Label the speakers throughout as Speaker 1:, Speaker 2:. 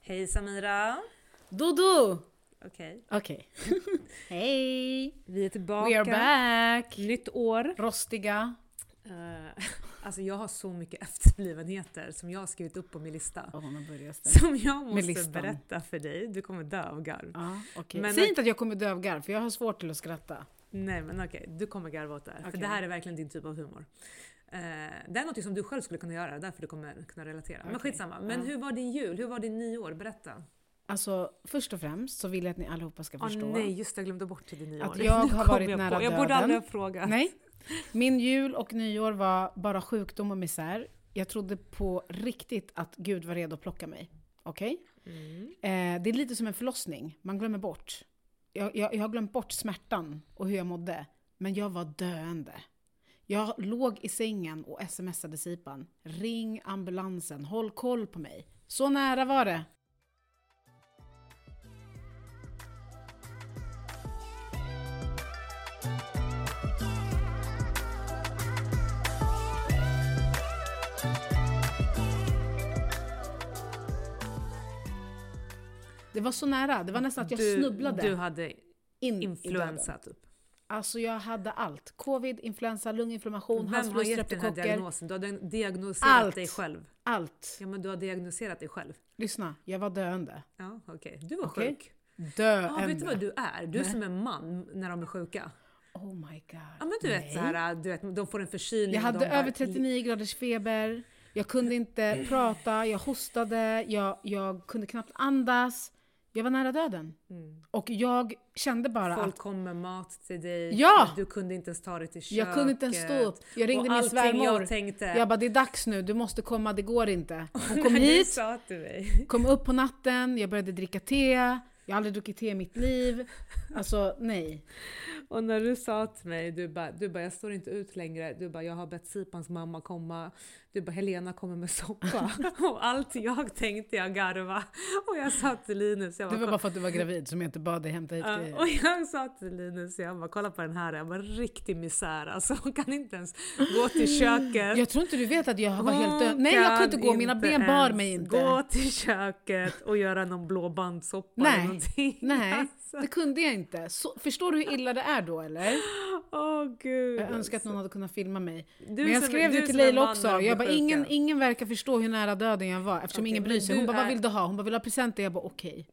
Speaker 1: Hej Samira!
Speaker 2: Dodo!
Speaker 1: Okej.
Speaker 2: Okej. Hej!
Speaker 1: Vi är tillbaka.
Speaker 2: We are back!
Speaker 1: Nytt år.
Speaker 2: Rostiga.
Speaker 1: Eh, alltså jag har så mycket efterblivenheter som jag har skrivit upp på min lista.
Speaker 2: Åh, nu börjar det.
Speaker 1: Som jag måste
Speaker 2: listan.
Speaker 1: berätta för dig. Du kommer dö av garv.
Speaker 2: Ja, okej.
Speaker 1: Men-
Speaker 2: Säg inte att jag kommer dövgarv, för jag har svårt till att skratta.
Speaker 1: Nej men okej, du kommer garva åt det här. För
Speaker 2: Okej.
Speaker 1: det här är verkligen din typ av humor. Eh, det är något som du själv skulle kunna göra, därför du kommer kunna relatera. Men
Speaker 2: Okej.
Speaker 1: skitsamma. Men
Speaker 2: Ja.
Speaker 1: hur var din jul? Hur var din nyår? Berätta.
Speaker 2: Alltså, först och främst så vill jag att ni allihopa ska
Speaker 1: Åh
Speaker 2: förstå.
Speaker 1: nej, just det, jag glömde bort till din nyår.
Speaker 2: Att jag
Speaker 1: Nu
Speaker 2: har
Speaker 1: kom
Speaker 2: varit
Speaker 1: jag
Speaker 2: nära
Speaker 1: på. Jag borde
Speaker 2: döden.
Speaker 1: aldrig ha frågat.
Speaker 2: Nej. Min jul och nyår var bara sjukdom och misär. Jag trodde på riktigt att Gud var redo att plocka mig. Okej?
Speaker 1: Mm.
Speaker 2: Eh, det är lite som en förlossning, man glömmer bort. Jag, jag, jag har glömt bort smärtan och hur jag mådde, men jag var döende. Jag låg i sängen och smsade Sipan. Ring ambulansen, håll koll på mig. Så nära var det. Det var så nära, det var nästan att jag
Speaker 1: du,
Speaker 2: snubblade
Speaker 1: Du hade
Speaker 2: in i döden.
Speaker 1: influensa typ.
Speaker 2: Alltså jag hade allt. Covid, influensa, lunginflammation,
Speaker 1: Vem har
Speaker 2: halsfluss,
Speaker 1: gett den här
Speaker 2: streptokocker.
Speaker 1: diagnosen? Du har diag- diagnoserat
Speaker 2: Allt.
Speaker 1: dig själv.
Speaker 2: Allt.
Speaker 1: Ja men du har diagnoserat dig själv.
Speaker 2: Lyssna, jag var döende.
Speaker 1: Ja okej, du var
Speaker 2: Okej.
Speaker 1: sjuk.
Speaker 2: Döende.
Speaker 1: Ja, vet du vad du är? Du är som en man när de är sjuka.
Speaker 2: Oh my god.
Speaker 1: Ja men du vet så här, du vet, de får en förkylning.
Speaker 2: Jag
Speaker 1: och
Speaker 2: hade
Speaker 1: de bara-
Speaker 2: över 39 graders feber. Jag kunde inte prata, jag hostade, jag, jag kunde knappt andas. Jag var nära döden.
Speaker 1: Mm.
Speaker 2: Och jag kände bara
Speaker 1: Folk
Speaker 2: att
Speaker 1: kom med mat till dig.
Speaker 2: Ja!
Speaker 1: Du kunde inte ens ta dig till köket.
Speaker 2: jag kunde inte ens stå upp. Jag ringde
Speaker 1: och
Speaker 2: min
Speaker 1: allting
Speaker 2: svärmor.
Speaker 1: jag tänkte.
Speaker 2: Jag bara, det är dags nu, du måste komma, det går inte. Hon kom
Speaker 1: när Du
Speaker 2: hit,
Speaker 1: sa till mig.
Speaker 2: kom upp på natten, jag började dricka te. Jag har aldrig druckit te i mitt liv. Alltså nej.
Speaker 1: Och när du sa till mig, du bara, du bara jag står inte ut längre. Du bara jag har bett Sipans mamma komma. Du bara Helena kommer med soppa. och allt jag tänkte jag garva. Och jag sa till Linus, jag
Speaker 2: Det
Speaker 1: bara,
Speaker 2: var bara för att du var gravid som jag inte bad dig hämta hit
Speaker 1: Ja,
Speaker 2: grejer.
Speaker 1: och jag sa till Linus, jag bara kolla på den här, jag bara riktig misär alltså. Hon kan inte ens gå till köket.
Speaker 2: Jag tror inte du vet att Mm. jag var helt död.
Speaker 1: Hon
Speaker 2: Nej jag kunde
Speaker 1: kan
Speaker 2: inte gå, mina
Speaker 1: inte
Speaker 2: ben bar
Speaker 1: ens
Speaker 2: mig inte.
Speaker 1: Gå till köket och göra någon blåbandssoppa eller
Speaker 2: Nej,
Speaker 1: någonting.
Speaker 2: Nej,
Speaker 1: Alltså,
Speaker 2: det kunde jag inte. Så, förstår du hur illa det är då eller?
Speaker 1: Åh gud.
Speaker 2: Jag önskar att någon hade kunnat filma mig.
Speaker 1: Du
Speaker 2: Men jag
Speaker 1: som-
Speaker 2: skrev
Speaker 1: du
Speaker 2: det till
Speaker 1: som är
Speaker 2: Leila
Speaker 1: man
Speaker 2: också.
Speaker 1: när de
Speaker 2: Jag
Speaker 1: blir
Speaker 2: bara, ingen,
Speaker 1: sjuka.
Speaker 2: ingen verkar förstå hur nära döden jag var eftersom
Speaker 1: Okej,
Speaker 2: ingen bryr
Speaker 1: men
Speaker 2: sig. Hon
Speaker 1: du
Speaker 2: bara, vad
Speaker 1: är-
Speaker 2: vill du ha? Hon bara, vill du ha presenter? Jag bara, okej.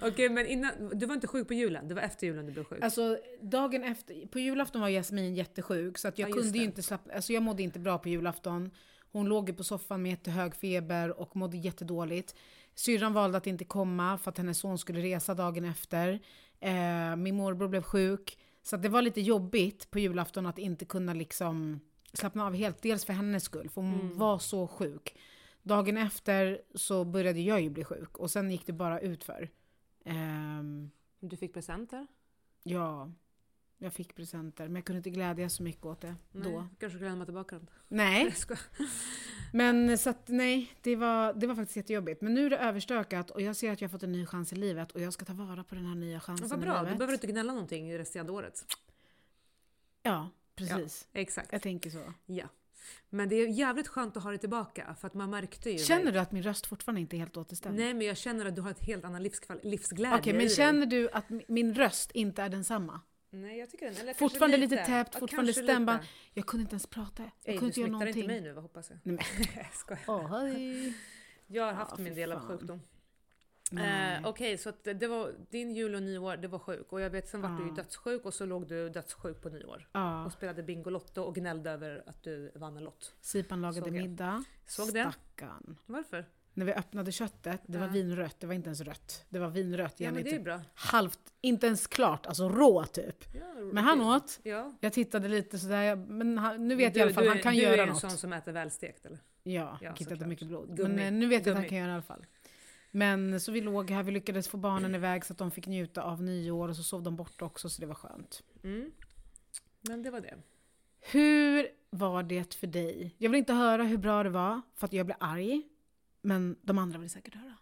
Speaker 1: Okej men innan, du var inte sjuk på julen, det var efter julen du blev sjuk.
Speaker 2: Alltså dagen efter, på julafton var Jasmin jättesjuk så att jag
Speaker 1: Ja, just
Speaker 2: kunde ju
Speaker 1: det.
Speaker 2: inte slappna, alltså jag mådde inte bra på julafton. Hon låg ju på soffan med jättehög feber och mådde jättedåligt. Syrran valde att inte komma för att hennes son skulle resa dagen efter. Eh, min morbror blev sjuk. Så att det var lite jobbigt på julafton att inte kunna liksom slappna av helt. Dels för hennes skull, för hon
Speaker 1: Mm.
Speaker 2: var så sjuk. Dagen efter så började jag ju bli sjuk och sen gick det bara utför. Ehm,
Speaker 1: du fick presenter?
Speaker 2: Ja, jag fick presenter. Men jag kunde inte glädjas så mycket åt det då.
Speaker 1: Kanske glömma tillbaka den.
Speaker 2: Nej,
Speaker 1: Jag skojar.
Speaker 2: men så att nej, det var, det var faktiskt jättejobbigt. Men nu är det överstökat och jag ser att jag har fått en ny chans i livet och jag ska ta vara på den här nya chansen
Speaker 1: Vad
Speaker 2: i
Speaker 1: bra,
Speaker 2: livet.
Speaker 1: du behöver inte gnälla någonting resten av året.
Speaker 2: Ja, precis.
Speaker 1: Exakt.
Speaker 2: Jag tänker så.
Speaker 1: Ja. Men det är jävligt skönt att ha det tillbaka för att man märkte ju...
Speaker 2: Känner du att min röst fortfarande inte är helt återställd?
Speaker 1: Nej men jag känner att du har ett helt annat livskval- livsglädje
Speaker 2: Okej, men
Speaker 1: i dig.
Speaker 2: känner du att mi- min röst inte är densamma?
Speaker 1: Nej jag tycker den... Eller kanske
Speaker 2: Fortfarande lite täppt,
Speaker 1: Ja,
Speaker 2: fortfarande
Speaker 1: kanske lite.
Speaker 2: stämband. Jag kunde inte ens prata. Jag
Speaker 1: Ey,
Speaker 2: kunde
Speaker 1: du
Speaker 2: inte göra
Speaker 1: smittar inte
Speaker 2: någonting.
Speaker 1: mig nu vad hoppas jag.
Speaker 2: Nej,
Speaker 1: Jag skojar.
Speaker 2: Åh, hej.
Speaker 1: Jag har haft
Speaker 2: Ja,
Speaker 1: min
Speaker 2: fy
Speaker 1: del av
Speaker 2: fan.
Speaker 1: sjukdom. Eh,
Speaker 2: Nej.
Speaker 1: Okej, så att det- det var din jul och nyår, det var sjuk. Och jag vet, sen var du ju
Speaker 2: Ja.
Speaker 1: dödssjuk och så låg du dödssjuk på nyår.
Speaker 2: Ja,
Speaker 1: Och spelade Bingolotto och gnällde över att du vann en lott.
Speaker 2: Sipan lagade
Speaker 1: Såg jag.
Speaker 2: middag.
Speaker 1: Såg den?
Speaker 2: Stackarn.
Speaker 1: Varför?
Speaker 2: När vi öppnade köttet, det var
Speaker 1: Ja.
Speaker 2: vinrött, det var inte ens rött. Det var vinrött,
Speaker 1: Ja
Speaker 2: Jenny.
Speaker 1: men det är ju
Speaker 2: typ
Speaker 1: bra.
Speaker 2: halvt, inte ens klart, alltså rå typ.
Speaker 1: Ja,
Speaker 2: Men han
Speaker 1: okej.
Speaker 2: åt.
Speaker 1: Ja.
Speaker 2: Jag tittade lite sådär, jag- men han, nu vet
Speaker 1: Mm. du,
Speaker 2: jag i alla fall,
Speaker 1: du,
Speaker 2: han kan
Speaker 1: du är
Speaker 2: göra
Speaker 1: en
Speaker 2: något.
Speaker 1: sån som äter välstekt eller?
Speaker 2: Ja,
Speaker 1: Ja,
Speaker 2: jag hittade
Speaker 1: såklart.
Speaker 2: mycket blod.
Speaker 1: Gummi.
Speaker 2: Men eh, nu vet jag att
Speaker 1: Gummi.
Speaker 2: han kan göra i alla fall. Men så vi låg här, vi lyckades få barnen iväg så att de fick njuta av nyår och så sov de borta också så det var skönt.
Speaker 1: Mm. Men det var det.
Speaker 2: Hur var det för dig? Jag vill inte höra hur bra det var för att jag blir arg. Men de andra vill säkert höra.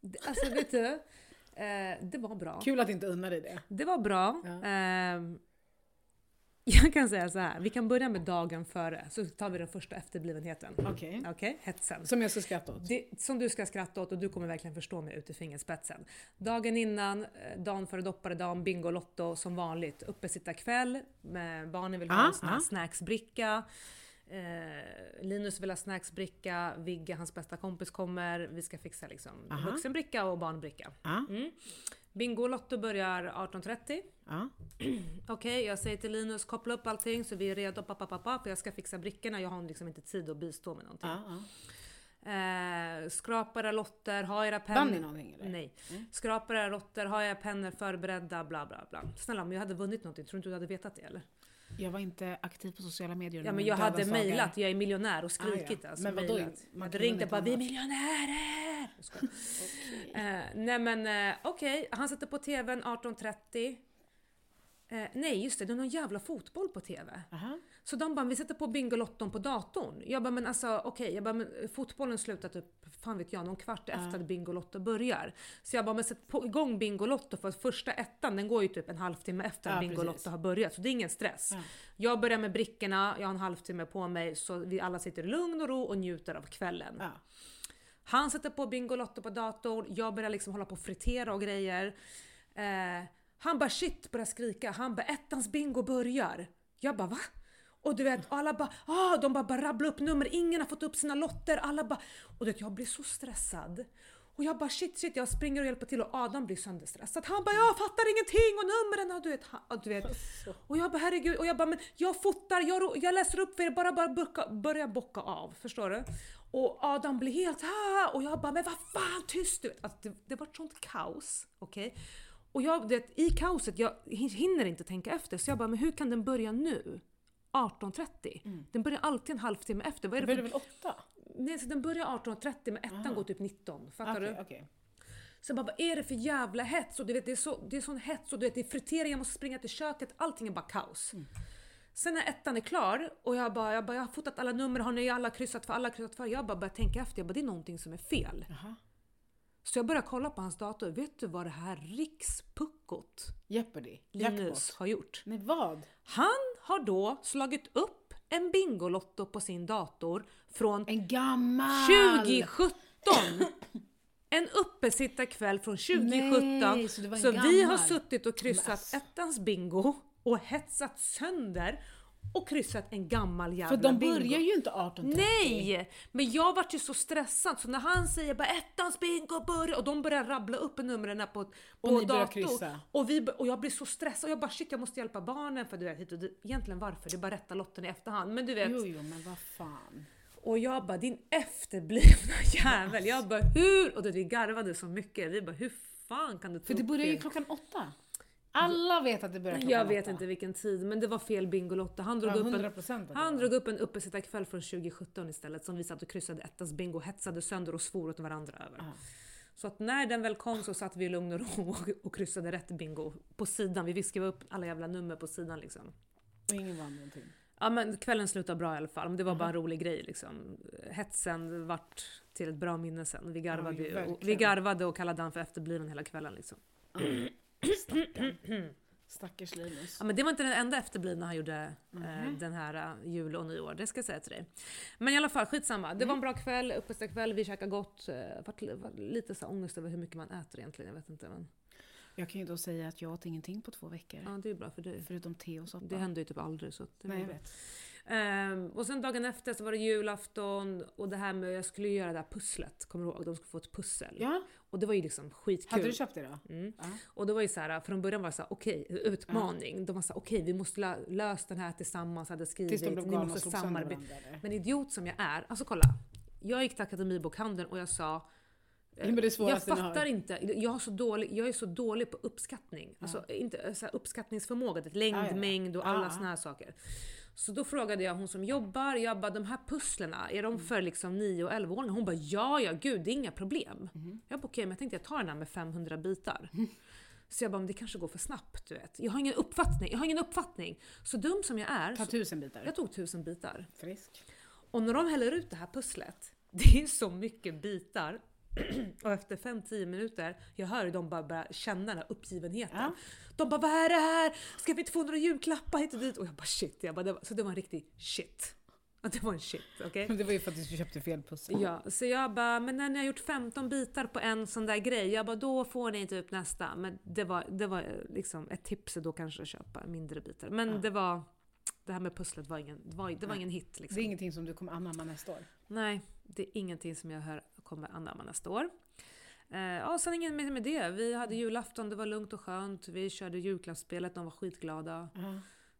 Speaker 1: Det- Alltså vet du, eh, det var bra.
Speaker 2: Kul att inte unna dig det.
Speaker 1: Det var bra.
Speaker 2: Ja.
Speaker 1: Ehm, Jag kan säga så här, vi kan börja med dagen före, så tar vi den första efterblivenheten.
Speaker 2: Okej.
Speaker 1: Okej, hetsen.
Speaker 2: Som jag ska skratta åt.
Speaker 1: Det, som du ska skratta åt och du kommer verkligen förstå mig ut i fingerspetsen. Dagen innan, eh, dagen före dopparedagen, Bingolotto som vanligt. Uppesittarkväll, med barnen vill ha
Speaker 2: Ah,
Speaker 1: en sån här
Speaker 2: ah.
Speaker 1: snacksbricka. Eh, Linus vill ha snacksbricka, Vigge, hans bästa kompis kommer. Vi ska fixa liksom
Speaker 2: Aha.
Speaker 1: vuxenbricka och barnbricka.
Speaker 2: Ja,
Speaker 1: Mm. Bingolotto börjar 18.30.
Speaker 2: ja.
Speaker 1: Okej, jag säger till Linus koppla upp allting så vi är redo, pappa, pappa, för jag ska fixa brickorna. Jag har liksom inte tid att bistå med någonting.
Speaker 2: ja,
Speaker 1: Eh, skrapa era lotter, ha era
Speaker 2: ja.
Speaker 1: pennor.
Speaker 2: Vann ni någonting eller? Mm.
Speaker 1: Nej. Skrapa era lotter, ha era pennor förberedda, bla bla bla. Snälla om jag hade vunnit någonting, tror du inte du hade vetat det eller?
Speaker 2: Jag var inte aktiv på sociala medier
Speaker 1: Ja
Speaker 2: under
Speaker 1: men jag
Speaker 2: döda
Speaker 1: hade
Speaker 2: dagar.
Speaker 1: mejlat, jag är miljonär och
Speaker 2: Ah,
Speaker 1: skrikit
Speaker 2: ja.
Speaker 1: alltså.
Speaker 2: Men vadå?
Speaker 1: mejlat. Jag
Speaker 2: Man
Speaker 1: hade
Speaker 2: kan väl
Speaker 1: ringt och
Speaker 2: inte
Speaker 1: bara vi är
Speaker 2: annat?
Speaker 1: miljonärer! Jag skojar. eh, nej men eh, okej, han sätter på TVn 18.30. Eh, nej just det, det är någon jävla fotboll på TV.
Speaker 2: Aha.
Speaker 1: Så de bara, vi sätter på Bingolotton på datorn. Jag bara, men alltså okej, jag bara, men fotbollen slutar typ, fan vet jag, någon kvart efter att Bingolotto börjar. Så jag bara, men sätt på igång Bingolotto för att första ettan den går ju typ en halvtimme efter
Speaker 2: Ja,
Speaker 1: att Bingolotto
Speaker 2: precis.
Speaker 1: har börjat. Så det är ingen stress.
Speaker 2: Ja.
Speaker 1: Jag börjar med brickorna, jag har en halvtimme på mig så vi alla sitter i lugn och ro och njuter av kvällen.
Speaker 2: Ja.
Speaker 1: Han sätter på Bingolotto på datorn, jag börjar liksom hålla på och fritera och grejer. Eh, han bara shit börjar skrika, han bara ettans bingo börjar. Jag bara va? Och du vet alla bara ah, de bara, bara rabblar upp nummer, ingen har fått upp sina lotter, alla bara och du vet jag blir så stressad. Och jag bara shit shit jag springer och hjälper till och Adam blir sönderstressad. Han bara jag fattar ingenting och numren och du vet. Han, och, du vet. och jag bara herregud och jag bara men jag fotar, jag, ro- jag läser upp för er, bara, bara börka, börja bocka av. Förstår du? Och Adam blir helt ah! och jag bara men vad fan tyst du! vet. Alltså, det, det var ett sånt kaos. Okej? Och jag, det, i kaoset, jag hinner inte tänka efter så jag bara men hur kan den börja nu? 18.30. Den börjar alltid en halvtimme efter. Vad är
Speaker 2: Det
Speaker 1: det
Speaker 2: var
Speaker 1: för,
Speaker 2: väl åtta?
Speaker 1: nej, så den börjar 18.30 men ettan
Speaker 2: Ah.
Speaker 1: går typ 19. Fattar
Speaker 2: Okej,
Speaker 1: du?
Speaker 2: okej.
Speaker 1: Så jag bara, vad är det för jävla hets? Och du vet, det är, så, det är sån hets och du vet, det är fritering, jag måste springa till köket. Allting är bara kaos. Sen när ettan är klar och jag bara, jag bara, jag har fotat alla nummer, har ni alla kryssat för? Alla kryssat för? Jag bara börjar tänka efter, jag bara, det är någonting som är fel.
Speaker 2: Jaha.
Speaker 1: Så jag börjar kolla på hans dator. Vet du vad det här rikspuckot
Speaker 2: Jeopardy.
Speaker 1: Linus
Speaker 2: Jackpot.
Speaker 1: har gjort?
Speaker 2: Nej, vad?
Speaker 1: Han har då slagit upp en Bingolotto på sin dator från
Speaker 2: En gammal!
Speaker 1: 2017! En uppesittarkväll från 2017.
Speaker 2: Nej, så det var en
Speaker 1: så vi har
Speaker 2: gammal.
Speaker 1: suttit och kryssat ettans bingo och hetsat sönder och kryssat en gammal jävla
Speaker 2: För de
Speaker 1: bingo.
Speaker 2: börjar ju inte 18.30.
Speaker 1: Nej! Men jag vart ju så stressad så när han säger bara ettans bingo börjar och de börjar rabbla upp numren på, på
Speaker 2: ni börjar
Speaker 1: datorn.
Speaker 2: kryssa.
Speaker 1: Och, vi, och jag blir så stressad och jag bara shit jag måste hjälpa barnen för du vet hit och dit. Egentligen varför? Det är bara rätta lotten i efterhand. Men du vet.
Speaker 2: Jo, jo, men vad fan.
Speaker 1: Och jag bara din efterblivna jävel. Jag bara hur? Och det vi garvade så mycket. Vi bara hur fan kan du ta
Speaker 2: För det
Speaker 1: upp
Speaker 2: börjar ju klockan åtta. Alla vet att det börjar klockan
Speaker 1: Jag vet
Speaker 2: åtta.
Speaker 1: inte vilken tid men det var fel Bingolotto. Han drog
Speaker 2: Ja,
Speaker 1: upp
Speaker 2: 100
Speaker 1: en
Speaker 2: procent.
Speaker 1: han drog upp en uppesittarkväll från 2017 istället som vi satt och kryssade ettans bingo, hetsade sönder och svor åt varandra över.
Speaker 2: Ja.
Speaker 1: Så att när den väl kom så satt vi i lugn och ro och, och kryssade rätt bingo på sidan. Vi viskade upp alla jävla nummer på sidan liksom.
Speaker 2: Och ingen vann någonting.
Speaker 1: Ja men kvällen slutade bra i alla fall. Men det var
Speaker 2: Mhm.
Speaker 1: bara en rolig grej liksom. Hetsen vart till ett bra minne sen. Vi garvade,
Speaker 2: men
Speaker 1: ju och, vi
Speaker 2: verkligen.
Speaker 1: garvade och kallade han för efterbliven hela kvällen liksom.
Speaker 2: Stackarn. Stackars Linus.
Speaker 1: Ja, men det var inte den enda efterblivna han gjorde eh,
Speaker 2: Mhm.
Speaker 1: den här eh, jul och nyår, det ska jag säga till dig. Men i alla fall, skitsamma. Det var
Speaker 2: Mm.
Speaker 1: en bra kväll, uppesittarkväll, vi käkade gott. Eh, vart, var lite så här ångest över hur mycket man äter egentligen, jag vet inte. Men,
Speaker 2: Jag kan ju då säga att jag åt ingenting på två veckor.
Speaker 1: ja, det är ju bra för dig.
Speaker 2: Förutom te och soppa.
Speaker 1: Det händer ju typ aldrig. Så att det
Speaker 2: Nej,
Speaker 1: var
Speaker 2: jag
Speaker 1: bra.
Speaker 2: vet.
Speaker 1: Ehm, och sen dagen efter så var det julafton och det här med jag skulle göra det här pusslet, kommer du ihåg? De skulle få ett pussel.
Speaker 2: Ja,
Speaker 1: Och det var ju liksom skitkul.
Speaker 2: hade du köpt det då?
Speaker 1: Mm.
Speaker 2: Ja.
Speaker 1: Och det var ju så här, äh, från början var det så här, okej, utmaning. De var så här, okej vi måste lö- lösa den här tillsammans, hade skrivit,
Speaker 2: Tills de blev
Speaker 1: ni
Speaker 2: galna och
Speaker 1: måste
Speaker 2: slog sönder
Speaker 1: samarbeta.
Speaker 2: varandra. eller?
Speaker 1: Men idiot som jag är, alltså kolla. Jag gick till Akademibokhandeln och jag sa eh,
Speaker 2: men det är
Speaker 1: jag
Speaker 2: svåraste ni har.
Speaker 1: fattar inte, jag, har så dålig, jag är så dålig på uppskattning. Alltså inte, eh, så här, uppskattningsförmåga, det är längd,
Speaker 2: Ja, ja, ja.
Speaker 1: mängd och
Speaker 2: Ja,
Speaker 1: alla
Speaker 2: ja.
Speaker 1: såna här saker. Så då frågade jag hon som jobbar, jag bara de här pusslerna, är
Speaker 2: Mm.
Speaker 1: de för liksom 9 och 11-åringar? Hon bara ja, ja gud det är inga problem.
Speaker 2: Mm.
Speaker 1: Jag bara okej men jag tänkte jag tar den här med 500 bitar. Så jag bara men det kanske går för snabbt du vet. Jag har ingen uppfattning, jag har ingen uppfattning. Så dum som jag är,
Speaker 2: Ta
Speaker 1: så,
Speaker 2: tusen bitar.
Speaker 1: jag tog tusen bitar.
Speaker 2: Frisk.
Speaker 1: Och när de häller ut det här pusslet, det är så mycket bitar Och efter 5-10 minuter, jag hör hur de bara börjar känna den här uppgivenheten.
Speaker 2: Ja.
Speaker 1: De bara “Vad är det här? Ska vi inte få några julklappar hit och dit?” Och jag bara “Shit”. Jag bara, det var, så det var en riktig shit. Ja, Det var en shit, okej?
Speaker 2: Men det var ju för att du köpte fel pussel.
Speaker 1: Ja, så jag bara, men när ni har gjort 15 bitar på en sån där grej, jag bara då får ni typ nästa. Men det var, det var liksom ett tips då kanske att köpa mindre bitar. Men det var, det här med pusslet var ingen, det var, det var ingen hit
Speaker 2: Det är
Speaker 1: liksom.
Speaker 2: ingenting som du kommer anamma nästa år.
Speaker 1: Nej, det är ingenting som jag hör kommer anamma nästa år. Eh, ja, sen ingen mer med det. Vi hade julafton, det var lugnt och skönt. Vi körde julklappsspelet, de var skitglada.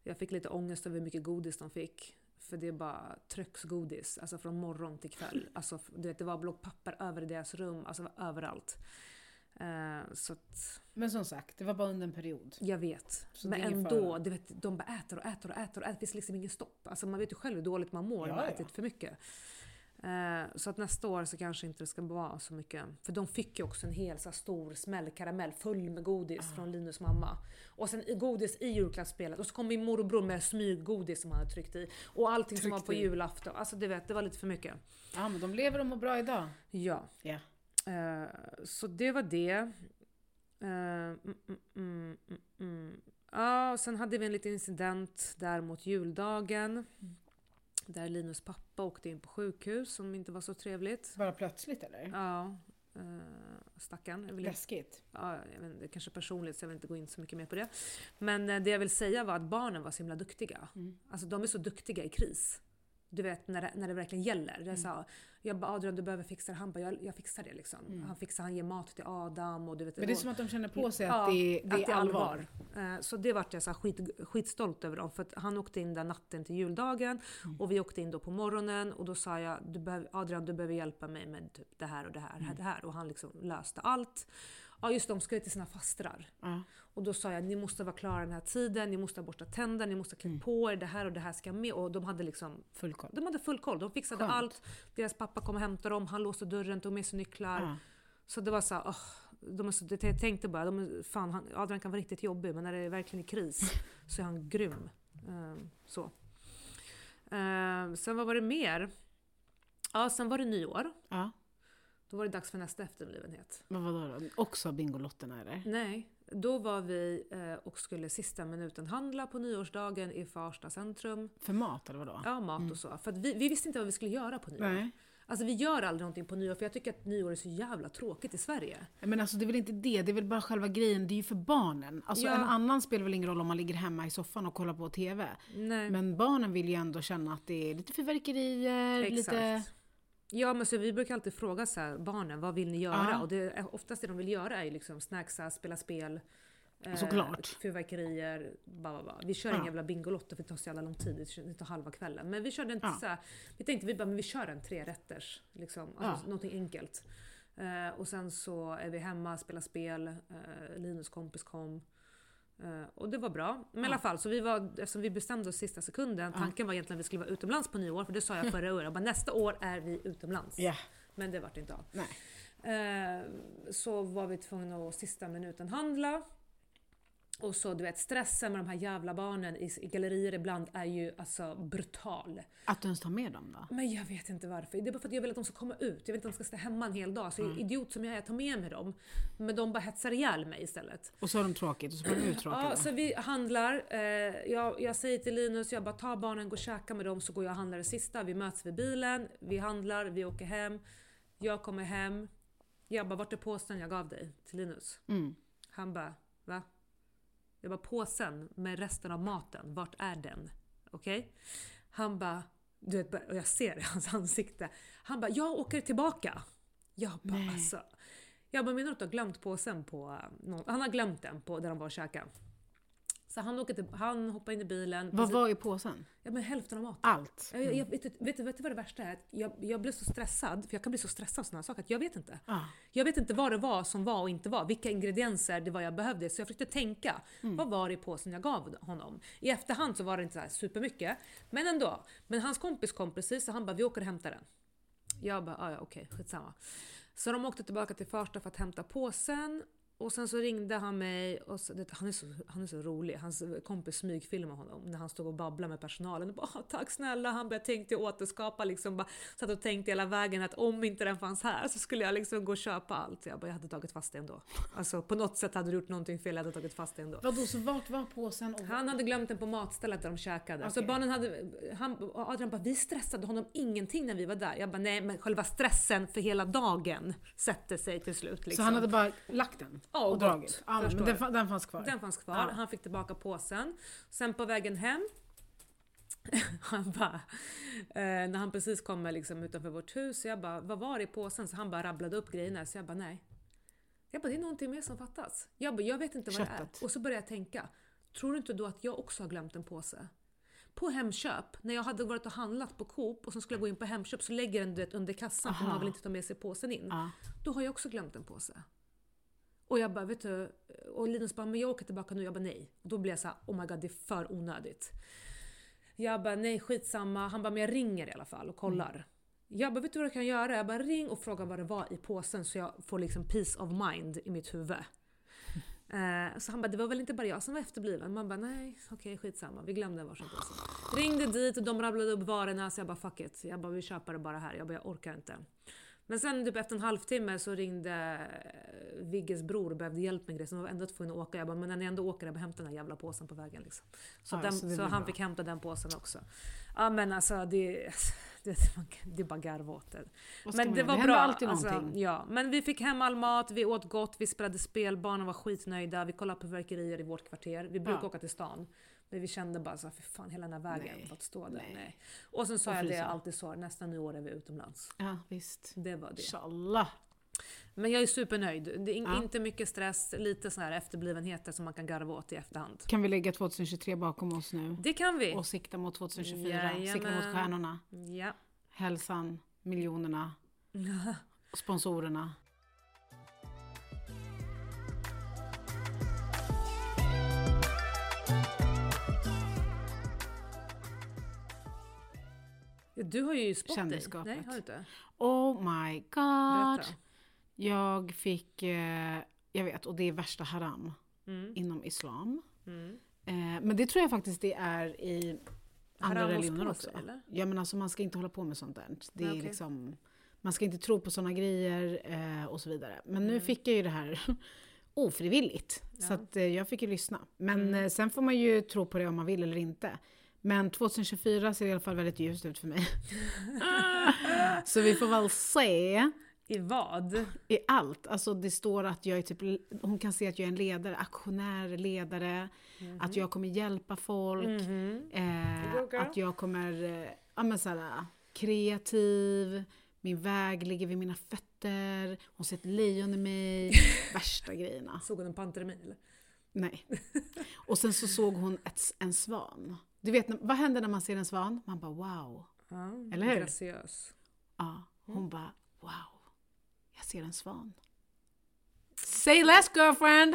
Speaker 1: Jag fick lite ångest över hur mycket godis de fick. För det är bara trycksgodis, alltså från morgon till kväll. Alltså, f- du vet, det var block papper över deras rum, alltså det var överallt. Eh, så att,
Speaker 2: Men som sagt, det var bara under en period.
Speaker 1: jag vet.
Speaker 2: Så
Speaker 1: Men
Speaker 2: det är ingen
Speaker 1: ändå,
Speaker 2: fara.
Speaker 1: du vet, de bara äter och äter och äter och äter. Det finns liksom ingen stopp. Alltså, man vet ju själv hur dåligt man mår när man
Speaker 2: Ja,
Speaker 1: har
Speaker 2: ja.
Speaker 1: ätit för mycket. Eh, så att nästa år så kanske inte det ska vara så mycket. För de fick ju också en hel så här, stor smällkaramell full med
Speaker 2: Ah.
Speaker 1: godis från Linus mamma. Och sen i- godis i julklappsspelet. Och så kom min morbror med smyggodis som han hade tryckt i. Och allting som var
Speaker 2: Tryckt
Speaker 1: på
Speaker 2: i.
Speaker 1: julafton. Alltså du vet, det var lite för mycket.
Speaker 2: Ja, men de lever och mår bra idag.
Speaker 1: Ja.
Speaker 2: Ja.
Speaker 1: Eh, så det var det. Eh, mm, mm, mm, mm, mm. Ja, och sen hade vi en liten incident där mot juldagen. Där Linus pappa åkte in på sjukhus som inte var så trevligt.
Speaker 2: Bara plötsligt eller?
Speaker 1: Ja, uh, stackarn. Jag vill inte
Speaker 2: Läskigt.
Speaker 1: ja, jag vet, inte, kanske personligt så jag vill inte gå in så mycket mer på det. Men eh, det jag vill säga var att barnen var så himla duktiga.
Speaker 2: Mm.
Speaker 1: Alltså de är så duktiga i kris. Du vet när det, när det verkligen gäller.
Speaker 2: Mm.
Speaker 1: Jag sa, jag bara Adrian du behöver fixa det. Han bara jag, jag fixar det liksom. Han fixar, han ger mat till Adam och du vet.
Speaker 2: Mm. Men det är som att de känner på sig
Speaker 1: Ja,
Speaker 2: att det, det är allvar.
Speaker 1: Eh, Så det vart jag så här skit, skitstolt över dem. För att han åkte in där natten till juldagen
Speaker 2: Mm.
Speaker 1: och vi åkte in då på morgonen och då sa jag du behöver, Adrian du behöver hjälpa mig med typ det här och det här,
Speaker 2: Mm.
Speaker 1: det här och han liksom löste allt. Ja just det, de ska ju till sina fastrar.
Speaker 2: Ja.
Speaker 1: Och då sa jag ni måste vara klara den här tiden, ni måste ha borstat tänder, ni måste ha
Speaker 2: Mm.
Speaker 1: klätt på er, det här och det här ska med. Och de hade liksom
Speaker 2: Full koll.
Speaker 1: de hade full koll, de fixade
Speaker 2: Skönt.
Speaker 1: allt. Deras pappa kom och hämtade dem, han låste dörren, tog med sig nycklar.
Speaker 2: Ja.
Speaker 1: Så det var så här, åh, de är så, det, jag tänkte bara, de är, fan han, Adrian kan vara riktigt jobbig men när det är verkligen är kris så är han grym. Ehm, så. Ehm, sen vad var det mer? Ja, sen var det nyår.
Speaker 2: ja.
Speaker 1: Då var det dags för nästa efterblivenhet.
Speaker 2: Men vadå då? Också Bingolotterna eller?
Speaker 1: Nej, då var vi eh, och skulle sista minuten handla på nyårsdagen i Farsta centrum.
Speaker 2: För mat eller vadå?
Speaker 1: Ja, mat och så. För att vi, vi visste inte vad vi skulle göra på nyår.
Speaker 2: Nej.
Speaker 1: Alltså vi gör aldrig någonting på nyår för jag tycker att nyår är så jävla tråkigt i Sverige.
Speaker 2: Men alltså det är väl inte det, det är väl bara själva grejen. Det är ju för barnen. Alltså
Speaker 1: Ja.
Speaker 2: en annan spelar väl ingen roll om man ligger hemma i soffan och kollar på TV.
Speaker 1: Nej.
Speaker 2: Men barnen vill ju ändå känna att det är lite fyrverkerier, lite...
Speaker 1: Ja men så vi brukar alltid fråga så här, barnen, vad vill ni göra?
Speaker 2: Ja.
Speaker 1: Och det, är- oftast det de vill göra är ju liksom snacksa, spela spel, eh,
Speaker 2: Såklart.
Speaker 1: fyrverkerier, ba, ba, ba. Vi kör
Speaker 2: Ja.
Speaker 1: ingen jävla Bingolotto för det tar så jävla lång tid, det kör- det tar halva kvällen. Men vi körde en,
Speaker 2: Ja.
Speaker 1: så här, vi tänkte vi bara, men vi kör en trerätters, liksom, alltså,
Speaker 2: Ja.
Speaker 1: någonting enkelt. Eh, och sen så är vi hemma, spelar spel, eh, Linus kompis kom. Eh, och det var bra. Men i alla fall, så vi var, eftersom vi bestämde oss sista sekunden, tanken var egentligen att vi skulle vara utomlands på nyår, för det sa jag förra året. Jag bara, nästa år är vi utomlands.
Speaker 2: Ja.
Speaker 1: Men det vart inte av.
Speaker 2: Nej.
Speaker 1: Eh, så var vi tvungna att sista minuten handla. Och så du vet stressen med de här jävla barnen i, i gallerier ibland är ju alltså brutal.
Speaker 2: Att du ens tar med dem då?
Speaker 1: Men jag vet inte varför. Det är bara för att jag vill att de ska komma ut. Jag vet inte att de ska stå hemma en hel dag. Så
Speaker 2: Mm.
Speaker 1: idiot som jag är, jag tar med mig dem. Men de bara hetsar ihjäl mig istället.
Speaker 2: Och så har de tråkigt och så blir de uttråkade.
Speaker 1: Ja, så vi handlar. Eh, jag, jag säger till Linus, jag bara ta barnen, gå och käka med dem så går jag och handlar det sista. Vi möts vid bilen, vi handlar, vi åker hem. Jag kommer hem. Jag bara, vart är påsen jag gav dig? Till Linus.
Speaker 2: Mm.
Speaker 1: Han bara, va? Jag bara, påsen med resten av maten, vart är den? Okej? Han bara, du vet, bara- och jag ser i hans ansikte. Han bara, jag åker tillbaka. Jag bara,
Speaker 2: Nej.
Speaker 1: alltså. Jag bara, menar du att du har glömt påsen på eh, någon? Han har glömt den på där de var och käkade. Så han, åker till, han hoppar in i bilen.
Speaker 2: Vad
Speaker 1: Precis-
Speaker 2: var i påsen?
Speaker 1: Ja, men hälften av maten.
Speaker 2: Allt.
Speaker 1: Jag, jag, vet, du- vet, du- vet du vad det värsta är? Att Jag, jag blev så stressad, för jag kan bli så stressad av sådana här saker, att jag vet inte.
Speaker 2: Ja.
Speaker 1: Jag vet inte vad det var som var och inte var, vilka ingredienser det var jag behövde. Så jag försökte tänka, vad var det i påsen jag gav honom? I efterhand så var det inte så här supermycket, men ändå. Men hans kompis kom precis så han bara, vi åker och hämtar den. Jag bara, "Ah, ja okej, skitsamma. Så de åkte tillbaka till Farsta för att hämta påsen Och sen så ringde han mig och så, det, han, är så, han är så rolig. Hans kompis smygfilmade honom när han stod och babblade med personalen. Och bara, "Ah, Tack snälla! Han bara, jag tänkte återskapa liksom. Bara, satt och tänkte hela vägen att om inte den fanns här så skulle jag liksom gå och köpa allt. Jag bara, jag hade tagit fast det ändå. Alltså på något sätt hade du gjort någonting fel, jag hade tagit fast det ändå.
Speaker 2: Vadå, så vart var påsen? Och...
Speaker 1: Han hade glömt den på matstället där de käkade. Så
Speaker 2: Okej.
Speaker 1: barnen hade, han, Adrian bara, vi stressade honom ingenting när vi var där. Jag bara, nej men själva stressen för hela dagen sätter sig till slut. Liksom.
Speaker 2: Så han hade bara lagt den?
Speaker 1: Ja, och gått.
Speaker 2: och dragit? Ja, men
Speaker 1: Förstår
Speaker 2: den,
Speaker 1: du.
Speaker 2: fa- den fanns kvar?
Speaker 1: Den fanns kvar.
Speaker 2: Ja.
Speaker 1: Han fick tillbaka påsen. Sen på vägen hem, han bara, eh, när han precis kommer liksom utanför vårt hus, så jag bara, vad var det i påsen? Så han bara rabblade upp grejerna, så jag bara, nej. Jag bara, det är någonting mer som fattas. Jag bara, jag vet inte vad det
Speaker 2: Köttet.
Speaker 1: är. Och så började jag tänka, tror du inte då att jag också har glömt en påse? På Hemköp, när jag hade varit och handlat på Coop och så skulle jag gå in på Hemköp så lägger den du vet, under kassan för
Speaker 2: Aha.
Speaker 1: man vill inte ta med sig påsen in
Speaker 2: Ja.
Speaker 1: då har jag också glömt en påse. Och jag bara, vet du? Och Linus bara, men jag åker tillbaka nu. Jag bara, nej. Och då blir jag så här, oh my god, det är för onödigt. Jag bara, nej skitsamma. Han bara, men jag ringer i alla fall och kollar. Jag bara, vet du vad du kan göra? Jag bara, ring och fråga vad det var i påsen så jag får liksom peace of mind i mitt huvud. Eh, så han bara, det var väl inte bara jag som var efterbliven? Man bara, nej okej skitsamma, vi glömde varsin påse. Ringde dit och de rabblade upp varorna så jag bara, fuck it. Jag bara, vi köper det bara här. Jag bara, jag orkar inte. Men sen typ efter en halvtimme så ringde eh, Vigges bror och behövde hjälp med grejer. Så de var ändå tvungna att åka. Jag bara, men när ni ändå åker, jag bara hämta den här jävla påsen på vägen. Liksom. Så,
Speaker 2: Ja,
Speaker 1: den,
Speaker 2: så det
Speaker 1: så,
Speaker 2: blir
Speaker 1: han
Speaker 2: bra.
Speaker 1: fick hämta den påsen också. Ja men alltså det, det, man kan- det är bara garva åt det.
Speaker 2: Vad ska
Speaker 1: Men
Speaker 2: man
Speaker 1: det
Speaker 2: göra?
Speaker 1: var
Speaker 2: händer
Speaker 1: bra.
Speaker 2: alltid
Speaker 1: alltså,
Speaker 2: någonting.
Speaker 1: ja. Men vi fick hem all mat, vi åt gott, vi spelade spel, barnen var skitnöjda, vi kollade på verkerier i vårt kvarter. Vi brukar
Speaker 2: Ja.
Speaker 1: åka till stan. Men vi kände bara såhär, för fan hela den här vägen
Speaker 2: Nej.
Speaker 1: för att stå där.
Speaker 2: Nej.
Speaker 1: Nej. Och sen sa
Speaker 2: Och
Speaker 1: jag det
Speaker 2: frysa.
Speaker 1: jag alltid sa, nästa nyår är vi utomlands.
Speaker 2: Ja, visst.
Speaker 1: Det var det.
Speaker 2: Inshallah.
Speaker 1: Men jag är supernöjd. Det är in,
Speaker 2: Ja.
Speaker 1: inte mycket stress, lite såna här efterblivenheter som man kan garva åt i efterhand.
Speaker 2: Kan vi lägga 2023 bakom oss nu?
Speaker 1: Det kan vi!
Speaker 2: Och sikta mot 2024. Sikta mot
Speaker 1: Jajamän.
Speaker 2: stjärnorna.
Speaker 1: Ja.
Speaker 2: Hälsan, miljonerna, sponsorerna.
Speaker 1: Du har ju spott dig.
Speaker 2: Kändisskapet.
Speaker 1: Nej, har du inte?
Speaker 2: Oh my god.
Speaker 1: Berätta.
Speaker 2: Jag fick, eh, jag vet, och det är värsta haram
Speaker 1: Mm.
Speaker 2: inom islam.
Speaker 1: Mm.
Speaker 2: Eh, men det tror jag faktiskt det är i andra
Speaker 1: Haram hos
Speaker 2: religioner
Speaker 1: på
Speaker 2: också.
Speaker 1: sig, eller?
Speaker 2: Ja men alltså man ska inte hålla på med sånt där. Det
Speaker 1: Nej,
Speaker 2: är
Speaker 1: okej.
Speaker 2: liksom, man ska inte tro på såna grejer eh, och så vidare. Men nu fick jag ju det här ofrivilligt. Så
Speaker 1: Mm. Ja. Mm.
Speaker 2: att, eh, jag fick ju lyssna. Men eh, sen får man ju tro på det om man vill eller inte. Men 2024 ser i alla fall väldigt ljust ut för mig. så vi får väl se
Speaker 1: I vad?
Speaker 2: i allt. Alltså det står att jag är typ, hon kan se att jag är en ledare, aktionär, ledare.
Speaker 1: Mhm.
Speaker 2: Att jag kommer hjälpa folk. Eh,
Speaker 1: Okej.
Speaker 2: att jag kommer, eh, ja men såhär, kreativ. Min väg ligger vid mina fötter. Hon ser ett lejon i mig. Värsta grejerna.
Speaker 1: Såg hon en pantermil?
Speaker 2: Nej. Och sen så såg hon ett, en svan. Du vet, när- vad händer när man ser en svan? Man bara wow.
Speaker 1: Ja,
Speaker 2: Eller hur?
Speaker 1: Graciös.
Speaker 2: Ja, hon bara wow. Jag ser en svan. Say less girlfriend!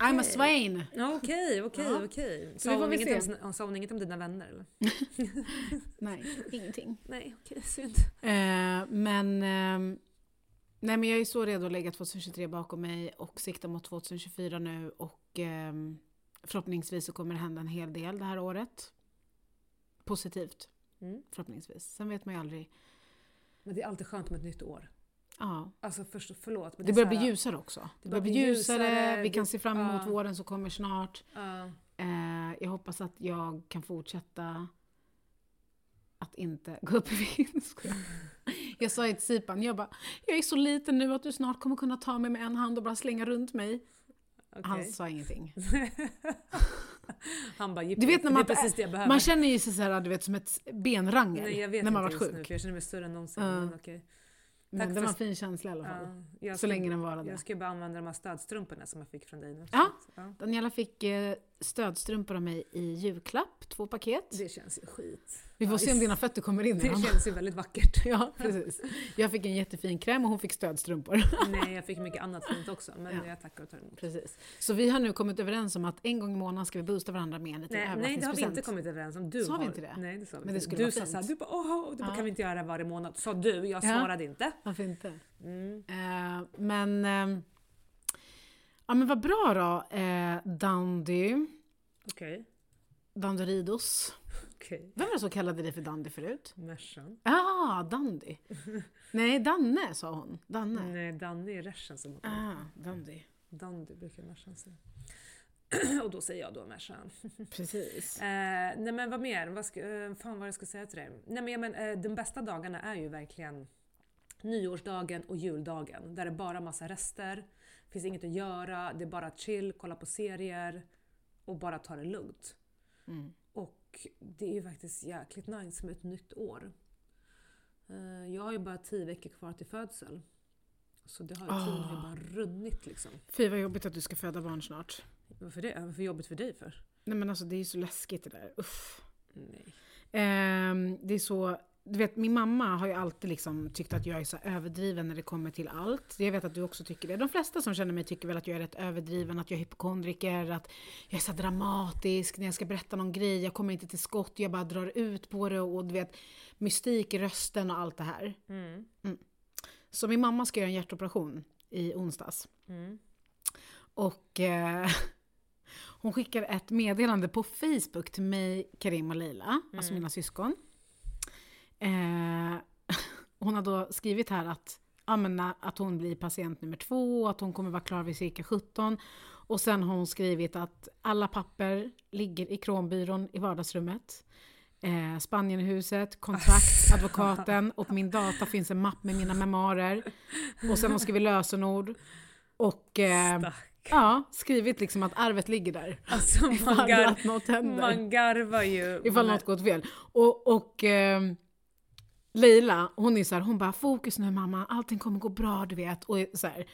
Speaker 2: I'm a swain!
Speaker 1: Ja, Okej, okej,
Speaker 2: Ja.
Speaker 1: okej.
Speaker 2: Så
Speaker 1: Sa
Speaker 2: vi får
Speaker 1: hon
Speaker 2: väl
Speaker 1: inget om
Speaker 2: se.
Speaker 1: sina- Sa hon inget om dina vänner eller?
Speaker 2: Nej, ingenting.
Speaker 1: Nej, okej, synd.
Speaker 2: Eh, men, ehm, nej, men jag är så redo att lägga 2023 bakom mig och sikta mot 2024 nu och ehm, förhoppningsvis så kommer det hända en hel del det här året. Positivt,
Speaker 1: Mm.
Speaker 2: förhoppningsvis. Sen vet man ju aldrig.
Speaker 1: Men det är alltid skönt med ett nytt år.
Speaker 2: Ja.
Speaker 1: Alltså först, förlåt. Men
Speaker 2: Det
Speaker 1: är
Speaker 2: börjar
Speaker 1: så här-
Speaker 2: bli ljusare också. Det börjar bli ljusare, vi kan se fram emot
Speaker 1: ja.
Speaker 2: våren som kommer snart.
Speaker 1: Ja.
Speaker 2: Eh, jag hoppas att jag kan fortsätta att inte gå upp i vinst. Jag sa ju till Sipan, jag bara, jag är så liten nu att du snart kommer kunna ta mig med en hand och bara slänga runt mig. Han
Speaker 1: okej.
Speaker 2: sa ingenting.
Speaker 1: Han bara,
Speaker 2: Du vet när man-
Speaker 1: det är precis det jag behöver.
Speaker 2: Man känner ju sig så här, du vet, som ett benrangel
Speaker 1: Nej, jag vet
Speaker 2: när man
Speaker 1: inte
Speaker 2: varit
Speaker 1: just
Speaker 2: sjuk.
Speaker 1: nu för jag känner mig större än någonsin.
Speaker 2: Ja.
Speaker 1: Men okej. Tack
Speaker 2: Men det
Speaker 1: för-
Speaker 2: var en fin känsla i alla fall.
Speaker 1: Ja, jag
Speaker 2: så
Speaker 1: ska-
Speaker 2: länge den varade.
Speaker 1: Jag ska ju bara använda de här stödstrumporna som jag fick från dig nu.
Speaker 2: Ja.
Speaker 1: Så att, ja.
Speaker 2: Daniela fick eh, stödstrumpor av mig i julklapp, två paket.
Speaker 1: Det känns ju skit.
Speaker 2: Vi får se om
Speaker 1: nice.
Speaker 2: dina fötter kommer in. i dem.
Speaker 1: Det känns ju väldigt vackert.
Speaker 2: Ja, precis. Jag fick en jättefin kräm och hon fick stödstrumpor.
Speaker 1: Nej, jag fick mycket annat fint också. Men
Speaker 2: Ja.
Speaker 1: jag tackar och tar emot.
Speaker 2: Precis. Så vi har nu kommit överens om att en gång i månaden ska vi boosta varandra med en liten
Speaker 1: Nej, nej, det har vi
Speaker 2: överraskningspresent.
Speaker 1: inte kommit överens om. Du
Speaker 2: Sa vi
Speaker 1: har,
Speaker 2: inte det?
Speaker 1: Nej, det sa vi
Speaker 2: Men det
Speaker 1: inte.
Speaker 2: skulle
Speaker 1: Du
Speaker 2: vara
Speaker 1: sa
Speaker 2: fint.
Speaker 1: såhär, du bara åh, du bara,
Speaker 2: Ja.
Speaker 1: kan vi inte göra det här varje månad? Sa du, jag Mm,
Speaker 2: Ja.
Speaker 1: svarade inte.
Speaker 2: Varför inte?
Speaker 1: Mm.
Speaker 2: Eh, men... ehm, Ja men vad bra då, eh, Dandy.
Speaker 1: Okej. Okay.
Speaker 2: Danderidos.
Speaker 1: Okej.
Speaker 2: Vem var det som kallade dig för Dandy förut?
Speaker 1: Mercan.
Speaker 2: Ah, Dandy. Nej, Danne sa hon. Danne.
Speaker 1: Nej, Danny är Reschen som åker.
Speaker 2: Ah, Dandy.
Speaker 1: Dandy brukar Mercan säga. Och då säger jag då Mercan.
Speaker 2: Precis.
Speaker 1: Eh, nej men vad mer? Vad ska, eh, fan vad jag ska säga till dig. Nej men, men eh, de bästa dagarna är ju verkligen nyårsdagen och juldagen. Där det är bara massa rester, finns inget att göra, det är bara chill, kolla på serier och bara ta det lugnt.
Speaker 2: Mm.
Speaker 1: Och det är ju faktiskt jäkligt nice med ett nytt år. Eh, Jag har ju bara tio veckor kvar till födsel. Så det har ju tiden har ju
Speaker 2: Ah.
Speaker 1: bara runnit liksom.
Speaker 2: Fy vad jobbigt att du ska föda barn snart.
Speaker 1: Varför det? Varför jobbigt för dig för?
Speaker 2: Nej men alltså det är ju så läskigt det där. Uff.
Speaker 1: Nej.
Speaker 2: Ehm, det är så, du vet min mamma har ju alltid liksom tyckt att jag är så överdriven när det kommer till allt. Jag vet att du också tycker det. De flesta som känner mig tycker väl att jag är rätt överdriven, att jag är hypokondriker, att jag är så dramatisk när jag ska berätta någon grej, jag kommer inte till skott, jag bara drar ut på det och du vet mystik i rösten och allt det här.
Speaker 1: Mm.
Speaker 2: Så min mamma ska göra en hjärtoperation i onsdags.
Speaker 1: Mm.
Speaker 2: Och eh, hon skickar ett meddelande på Facebook till mig, Karim och Leila, alltså mina syskon. Eh, hon har då skrivit här att, ja, men, na- att hon blir patient nummer två, att hon kommer vara klar vid cirka 17. Och sen har hon skrivit att alla papper ligger i kronbyrån i vardagsrummet. Eh, Spanienhuset, kontrakt, advokaten och på min data finns en mapp med mina memoarer. Och sen har hon skrivit lösenord. Och... Eh,
Speaker 1: Stack.
Speaker 2: Ja, skrivit liksom att arvet ligger där.
Speaker 1: Alltså man,
Speaker 2: Ifall
Speaker 1: gar,
Speaker 2: att något händer.
Speaker 1: man garvar ju.
Speaker 2: Ifall
Speaker 1: Men-
Speaker 2: något gått fel. Och, och ehm, Leila, hon är så här, hon bara fokus nu mamma, allting kommer gå bra du vet. Och så här,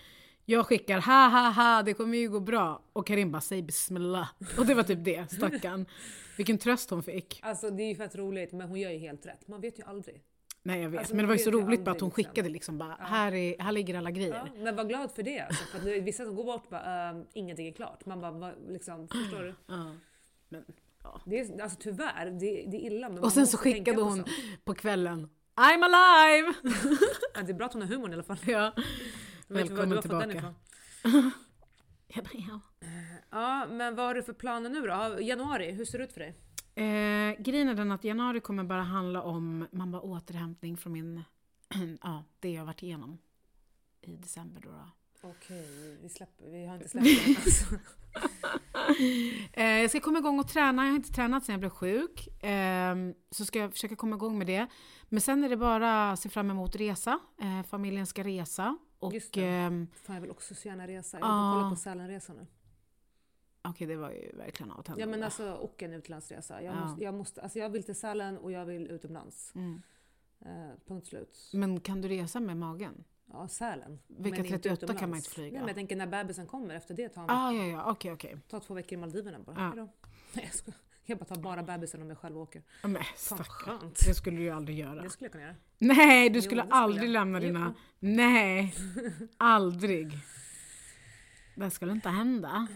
Speaker 2: jag skickar ha ha ha, det kommer ju gå bra. Och Karim bara säg bismillah. Och det var typ det, stackarn. Vilken tröst hon fick.
Speaker 1: Alltså det är ju fett roligt men hon gör ju helt rätt. Man vet ju aldrig.
Speaker 2: Nej jag vet,
Speaker 1: Alltså,
Speaker 2: men det
Speaker 1: man
Speaker 2: var ju
Speaker 1: vet
Speaker 2: så
Speaker 1: ju
Speaker 2: roligt bara att
Speaker 1: aldrig,
Speaker 2: hon
Speaker 1: liksom.
Speaker 2: skickade liksom bara, här, är, här ligger alla grejer.
Speaker 1: Ja, men var glad för det. Alltså, för att det är vissa som går bort och bara ehm, ingenting är klart. Man bara va, liksom, förstår du?
Speaker 2: Ja.
Speaker 1: Det är, alltså tyvärr, det, det är illa men man
Speaker 2: Och sen så
Speaker 1: måste tänka
Speaker 2: skickade
Speaker 1: på
Speaker 2: hon
Speaker 1: sånt.
Speaker 2: på kvällen, I'm alive!
Speaker 1: Ja, det är bra att hon har humorn i alla fall.
Speaker 2: ja.
Speaker 1: Jag vet inte var
Speaker 2: Välkommen
Speaker 1: du har fått den
Speaker 2: tillbaka.
Speaker 1: ifrån.
Speaker 2: Jag bara, ja.
Speaker 1: Ja, men vad har du för planer nu då? Januari, hur ser det ut för dig?
Speaker 2: Eh, grejen är den att januari kommer bara handla om man bara återhämtning från min, ja, det jag varit igenom i december då. då.
Speaker 1: Okej, vi, släpper, vi har inte släppt den. Alltså.
Speaker 2: Eh, jag ska komma igång och träna, jag har inte tränat sedan jag blev sjuk. Eh, så ska jag försöka komma igång med det. Men sen är det bara att se fram emot resa. Eh, familjen ska resa. Och,
Speaker 1: Just det.
Speaker 2: ehm,
Speaker 1: Fan, jag vill också så gärna resa. Jag vill kolla på Sälenresan nu.
Speaker 2: Okej, det var ju verkligen av
Speaker 1: Ja men
Speaker 2: tänderna.
Speaker 1: alltså, och en utlandsresa. Jag,
Speaker 2: Ja.
Speaker 1: måste, jag, måste, alltså, jag vill till Sälen och jag vill utomlands.
Speaker 2: mm.
Speaker 1: Eh, punkt slut.
Speaker 2: Men kan du resa med magen?
Speaker 1: Ja, Sälen.
Speaker 2: Mm. Vecka
Speaker 1: Men inte
Speaker 2: 38 kan man
Speaker 1: utomlands.
Speaker 2: inte flyga.
Speaker 1: Nej, men jag tänker när bebisen kommer efter det tar han
Speaker 2: Ah, ja, ja, okej, okej.
Speaker 1: ta två veckor i Maldiverna bara.
Speaker 2: Ja.
Speaker 1: Hejdå. Nej jag skojar. Jag bara tar bara bebisen om jag själv åker.
Speaker 2: Ja, Men
Speaker 1: Fan vad
Speaker 2: stackare.
Speaker 1: skönt.
Speaker 2: Det skulle du ju aldrig göra.
Speaker 1: Det skulle jag kunna göra.
Speaker 2: Nej,
Speaker 1: Jo,
Speaker 2: du skulle
Speaker 1: det skulle
Speaker 2: aldrig
Speaker 1: jag.
Speaker 2: lämna
Speaker 1: Jo.
Speaker 2: dina... Nej, aldrig. Det skulle inte hända.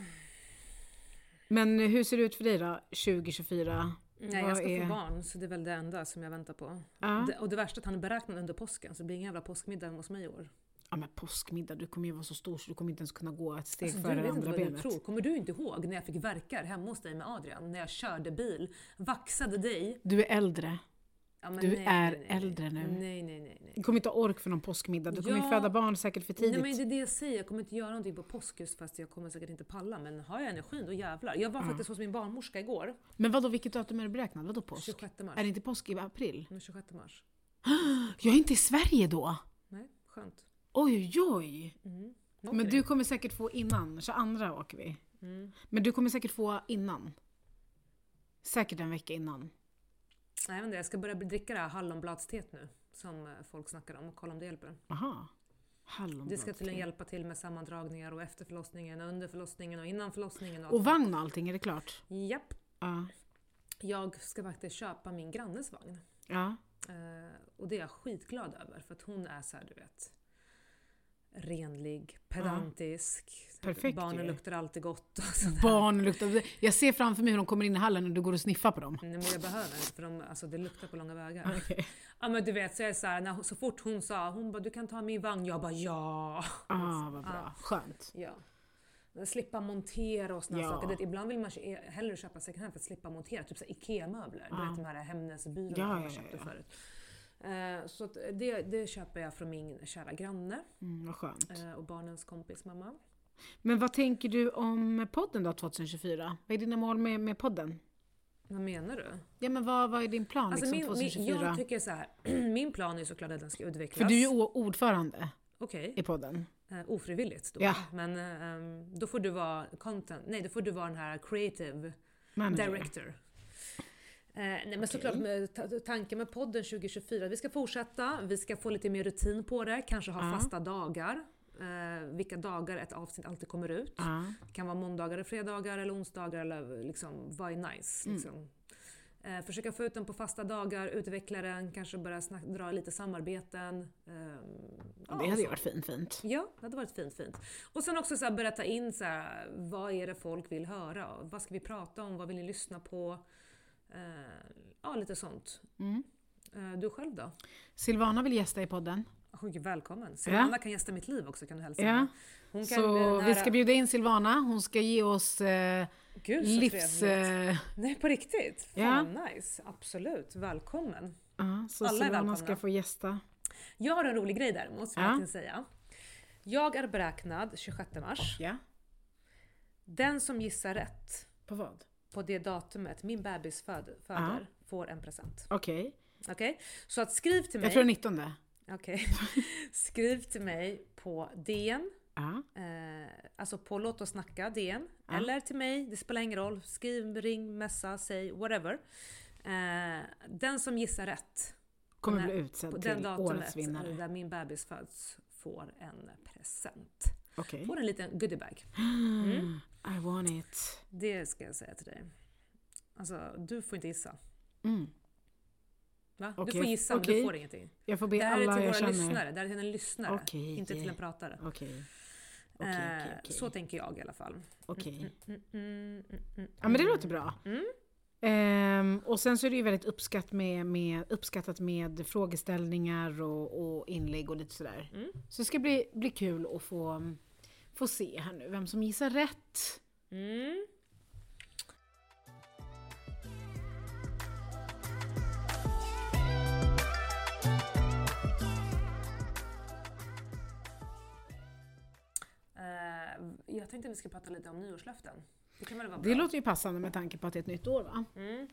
Speaker 2: Men hur ser det ut för dig då, 2024?
Speaker 1: Nej jag
Speaker 2: Mm. Vad
Speaker 1: ska
Speaker 2: är-
Speaker 1: få barn så det är väl det enda som jag väntar på.
Speaker 2: Ja.
Speaker 1: Det, och det värsta är att han är beräknad under påsken så det blir ingen jävla påskmiddag hemma hos mig i år.
Speaker 2: ja, men påskmiddag, du kommer ju vara så stor så du kommer inte ens kunna gå ett steg
Speaker 1: Alltså, du
Speaker 2: före det
Speaker 1: vet inte
Speaker 2: andra
Speaker 1: vad du
Speaker 2: benet.
Speaker 1: tror. Kommer du inte ihåg när jag fick verkar hemma hos dig med Adrian? När jag körde bil, vaxade dig.
Speaker 2: Du är äldre.
Speaker 1: Ja, men
Speaker 2: Du är
Speaker 1: nej,
Speaker 2: äldre nu.
Speaker 1: Nej, nej, nej. nej.
Speaker 2: Du kommer inte ha ork för någon påskmiddag. Du kommer ju
Speaker 1: Ja.
Speaker 2: föda barn säkert för tidigt.
Speaker 1: Nej men det är det jag säger, jag kommer inte göra någonting på påsk just fast jag kommer säkert inte palla. Men har jag energin då jävlar. Jag var faktiskt hos min barnmorska igår,
Speaker 2: Men vadå, vilket datum är det beräknat? Vadå påsk?
Speaker 1: 26
Speaker 2: Är
Speaker 1: mars.
Speaker 2: det inte påsk i april?
Speaker 1: Den 26 mars.
Speaker 2: Jag är inte i Sverige då!
Speaker 1: Nej, skönt.
Speaker 2: Oj, oj, oj!
Speaker 1: Mm.
Speaker 2: Men
Speaker 1: Okej.
Speaker 2: du kommer säkert få innan, 22 åker vi.
Speaker 1: Mm.
Speaker 2: Men du kommer säkert få innan. Säkert en vecka innan.
Speaker 1: Nej, men det, jag ska börja dricka det här hallonbladsteet nu. Som eh, folk snackar om och kolla om det hjälper.
Speaker 2: Aha. Hallonblad.
Speaker 1: Det ska tydligen hjälpa till med sammandragningar och efter förlossningen och under förlossningen och innan förlossningen.
Speaker 2: Och
Speaker 1: allt.
Speaker 2: vagn och allting, är det klart?
Speaker 1: Japp.
Speaker 2: Ja.
Speaker 1: Jag ska faktiskt köpa min grannes vagn.
Speaker 2: Ja.
Speaker 1: Eh, och det är jag skitglad över för att hon är så här, du vet renlig, pedantisk.
Speaker 2: Perfekt
Speaker 1: Barnen
Speaker 2: ju.
Speaker 1: luktar alltid gott. Och sådär.
Speaker 2: Barn luktar... Jag ser framför mig hur de kommer in i hallen och du går och sniffar på dem.
Speaker 1: Nej men jag behöver inte för de, alltså, det luktar på långa vägar.
Speaker 2: Okej.
Speaker 1: Ja men du vet så jag är så, här, när, hon- så fort hon sa hon bara du kan ta min vagn, jag bara ja.
Speaker 2: Ah, vad bra. Skönt.
Speaker 1: ja. slippa montera och såna
Speaker 2: Ja.
Speaker 1: saker. Det, ibland vill man kö- eh, hellre köpa second hand för att slippa montera. Typ så här IKEA-möbler. Du
Speaker 2: Ja.
Speaker 1: vet de här Hemnesbyråerna
Speaker 2: Ja,
Speaker 1: man
Speaker 2: ja, ja,
Speaker 1: köpte
Speaker 2: ja.
Speaker 1: förut. Eh, så att det, det köper jag från min kära granne
Speaker 2: Mm, vad skönt.
Speaker 1: eh, och barnens kompis mamma.
Speaker 2: Men vad tänker du om podden då 2024? Vad är dina mål med, med podden?
Speaker 1: Vad menar du?
Speaker 2: Ja men vad, vad är din plan
Speaker 1: Alltså
Speaker 2: liksom,
Speaker 1: min, min,
Speaker 2: 2024?
Speaker 1: jag tycker så här, min plan är såklart att den ska utvecklas.
Speaker 2: För du är ju o- ordförande
Speaker 1: Okej.
Speaker 2: i podden.
Speaker 1: Eh, ofrivilligt då.
Speaker 2: Ja.
Speaker 1: Men eh, ehm, då får du vara content, nej då får du vara den här creative
Speaker 2: Manager.
Speaker 1: director. Eh, nej men såklart med ta- tanken med podden 2024, vi ska fortsätta, vi ska få lite mer rutin på det, kanske ha
Speaker 2: Ja.
Speaker 1: fasta dagar. Eh, vilka dagar ett avsnitt alltid kommer ut.
Speaker 2: Ja.
Speaker 1: Det kan vara måndagar, och fredagar eller onsdagar eller liksom, vad är nice?
Speaker 2: Mm.
Speaker 1: Liksom. Eh, försöka få ut den på fasta dagar, utveckla den, kanske börja snack- dra lite samarbeten. ehm, ja,
Speaker 2: Det hade
Speaker 1: så.
Speaker 2: ju varit fint fint.
Speaker 1: Ja, det hade varit fint, fint. Och sen också så här börja ta in så här, vad är det folk vill höra? Vad ska vi prata om? Vad vill ni lyssna på? Eh, ja, lite sånt.
Speaker 2: Mm.
Speaker 1: Eh, du själv då?
Speaker 2: Silvana vill gästa i podden.
Speaker 1: Oj, välkommen. Silvana kan gästa mitt liv också kan du hälsa.
Speaker 2: Ja.
Speaker 1: henne. Hon kan,
Speaker 2: Så
Speaker 1: den här-
Speaker 2: vi ska bjuda in Silvana, hon ska ge oss eh,
Speaker 1: Gud, så
Speaker 2: livs...
Speaker 1: trevligt.
Speaker 2: Eh,
Speaker 1: Nej, på riktigt.
Speaker 2: Ja.
Speaker 1: Fan vad nice. Absolut. Välkommen.
Speaker 2: ja, så
Speaker 1: Alla är
Speaker 2: Silvana
Speaker 1: välkomna.
Speaker 2: ska få gästa.
Speaker 1: Jag har en rolig grej däremot som
Speaker 2: Ja.
Speaker 1: jag tänkte säga. Jag är beräknad 26 mars.
Speaker 2: Ja.
Speaker 1: Den som gissar rätt
Speaker 2: På vad?
Speaker 1: på det datumet min bebis föd- föder får en present.
Speaker 2: Okej.
Speaker 1: Okej? Så att skriv till mig.
Speaker 2: Jag tror den 19.
Speaker 1: Okej. skriv till mig på DN.
Speaker 2: Ja.
Speaker 1: Eh, alltså på Låt oss snacka DN. Eller till mig, det spelar ingen roll. Skriv, ring, messa, säg whatever. Eh, den som gissar rätt
Speaker 2: Kommer
Speaker 1: Nej,
Speaker 2: bli
Speaker 1: på
Speaker 2: utsedd
Speaker 1: den
Speaker 2: till årets
Speaker 1: datumet
Speaker 2: vinnare.
Speaker 1: där min bebis föds får en present.
Speaker 2: Okej. Mm.
Speaker 1: Får en liten goodiebag.
Speaker 2: I want it.
Speaker 1: Det ska jag säga till dig. Alltså, du får inte gissa.
Speaker 2: Mm.
Speaker 1: Va?
Speaker 2: Okej,
Speaker 1: Du får gissa, men
Speaker 2: okej.
Speaker 1: du får ingenting.
Speaker 2: Jag får
Speaker 1: Det
Speaker 2: be
Speaker 1: här är till
Speaker 2: alla
Speaker 1: våra
Speaker 2: jag känner.
Speaker 1: lyssnare. Det här är till en lyssnare.
Speaker 2: Okej.
Speaker 1: Inte till en pratare.
Speaker 2: Okej.
Speaker 1: Eh,
Speaker 2: Okej, okej,
Speaker 1: Så
Speaker 2: okej.
Speaker 1: tänker jag i alla fall.
Speaker 2: Okej.
Speaker 1: Mm, mm, mm, mm.
Speaker 2: Ja men det låter bra.
Speaker 1: Mm.
Speaker 2: Ehm, och sen så är det ju väldigt uppskatt med, med, uppskattat med frågeställningar och, och inlägg och lite sådär.
Speaker 1: Mm.
Speaker 2: Så det ska bli, bli kul att få, få se här nu vem som gissar rätt.
Speaker 1: Mm. Eh, Jag tänkte vi ska prata lite om nyårslöften. Det kan väl vara bra?
Speaker 2: Det låter ju passande med tanke på att det är ett nytt år va?
Speaker 1: Mm.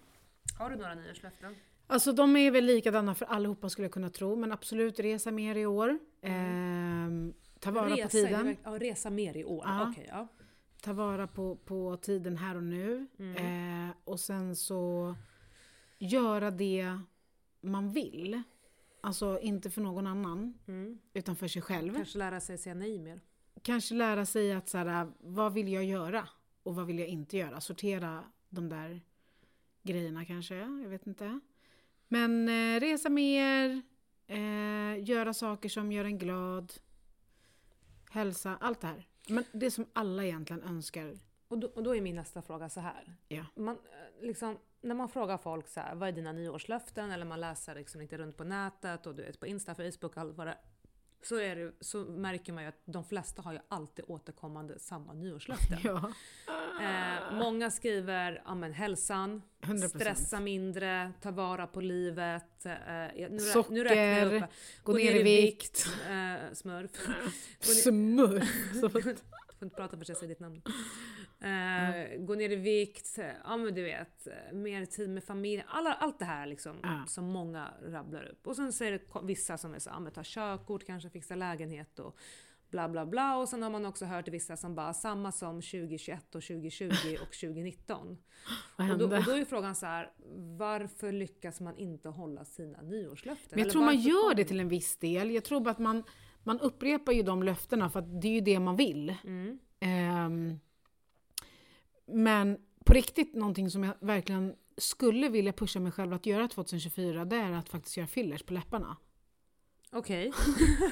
Speaker 1: Har du några nyårslöften?
Speaker 2: Alltså de är väl likadana för allihopa skulle jag kunna tro men absolut resa mer i år.
Speaker 1: Mm.
Speaker 2: Ehm, ta vara på
Speaker 1: i-
Speaker 2: tiden.
Speaker 1: Ja, resa mer i år.
Speaker 2: Ja.
Speaker 1: Okej, ja.
Speaker 2: ta vara på, på tiden här och nu. Eh, och sen så göra det man vill. Alltså inte för någon annan,
Speaker 1: Mm.
Speaker 2: utan för sig själv. Kanske,
Speaker 1: Kanske lära sig säga nej mer.
Speaker 2: lära sig att så här, vad vill jag göra och vad vill jag inte göra? Sortera de där grejerna kanske, jag vet inte. Men eh, resa mer, eh, göra saker som gör en glad, hälsa, allt det här. Men det som alla egentligen önskar.
Speaker 1: Och då, och då är min nästa fråga så här.
Speaker 2: Ja.
Speaker 1: Man, eh, liksom, när man frågar folk så här, vad är dina nyårslöften? Eller man läser liksom lite runt på nätet och du vet, på Insta, Facebook och allt vad det så, är det, så märker man ju att de flesta har ju alltid återkommande samma nyårslöften.
Speaker 2: Ja.
Speaker 1: Eh, många skriver ja, men, hälsan,
Speaker 2: 100%.
Speaker 1: stressa mindre, ta vara på livet. Eh, jag- nu, rä-
Speaker 2: Socker,
Speaker 1: nu räknar jag upp,
Speaker 2: Gå ner i vikt.
Speaker 1: eh, smurf. Gå ner-
Speaker 2: Smurf.
Speaker 1: Du får inte prata för sig, säg ditt namn. Eh, Gå ner i vikt, eh, ja men du vet, eh, mer tid med familj. Alla, allt det här liksom,
Speaker 2: Ja.
Speaker 1: som många rabblar upp. Och sen så är det ko- vissa som är så, ja men ta körkort, kanske fixa lägenhet och bla bla bla. Och sen har man också hört vissa som bara, samma som 2021 och 2020 och 2019.
Speaker 2: Vad
Speaker 1: Och då, och
Speaker 2: hände?
Speaker 1: då är ju frågan så här, varför lyckas man inte hålla sina nyårslöften?
Speaker 2: Men jag
Speaker 1: Eller
Speaker 2: tror man
Speaker 1: varför
Speaker 2: gör
Speaker 1: kommer-
Speaker 2: det till en viss del. Jag tror bara att man, man upprepar ju de löftena för att det är ju det man vill.
Speaker 1: Mm.
Speaker 2: Ehm, men på riktigt, någonting som jag verkligen skulle vilja pusha mig själv att göra 2024, det är att faktiskt göra fillers på läpparna.
Speaker 1: Okej.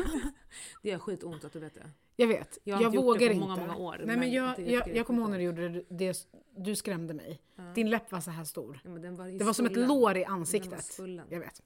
Speaker 1: det gör skitont att du vet det.
Speaker 2: Jag vet,
Speaker 1: Jag
Speaker 2: jag,
Speaker 1: har inte gjort
Speaker 2: vågar
Speaker 1: det på
Speaker 2: inte.
Speaker 1: många, många år,
Speaker 2: Nej, men
Speaker 1: men
Speaker 2: jag,
Speaker 1: det
Speaker 2: jag,
Speaker 1: tycker
Speaker 2: jag,
Speaker 1: jag är
Speaker 2: kommer ihåg när
Speaker 1: skitont.
Speaker 2: du gjorde det, det, du skrämde mig. Din läpp var så här stor.
Speaker 1: Ja, men den var ju
Speaker 2: Det var som ett
Speaker 1: svullen.
Speaker 2: lår i
Speaker 1: Den var
Speaker 2: ansiktet.
Speaker 1: svullen.
Speaker 2: Jag vet.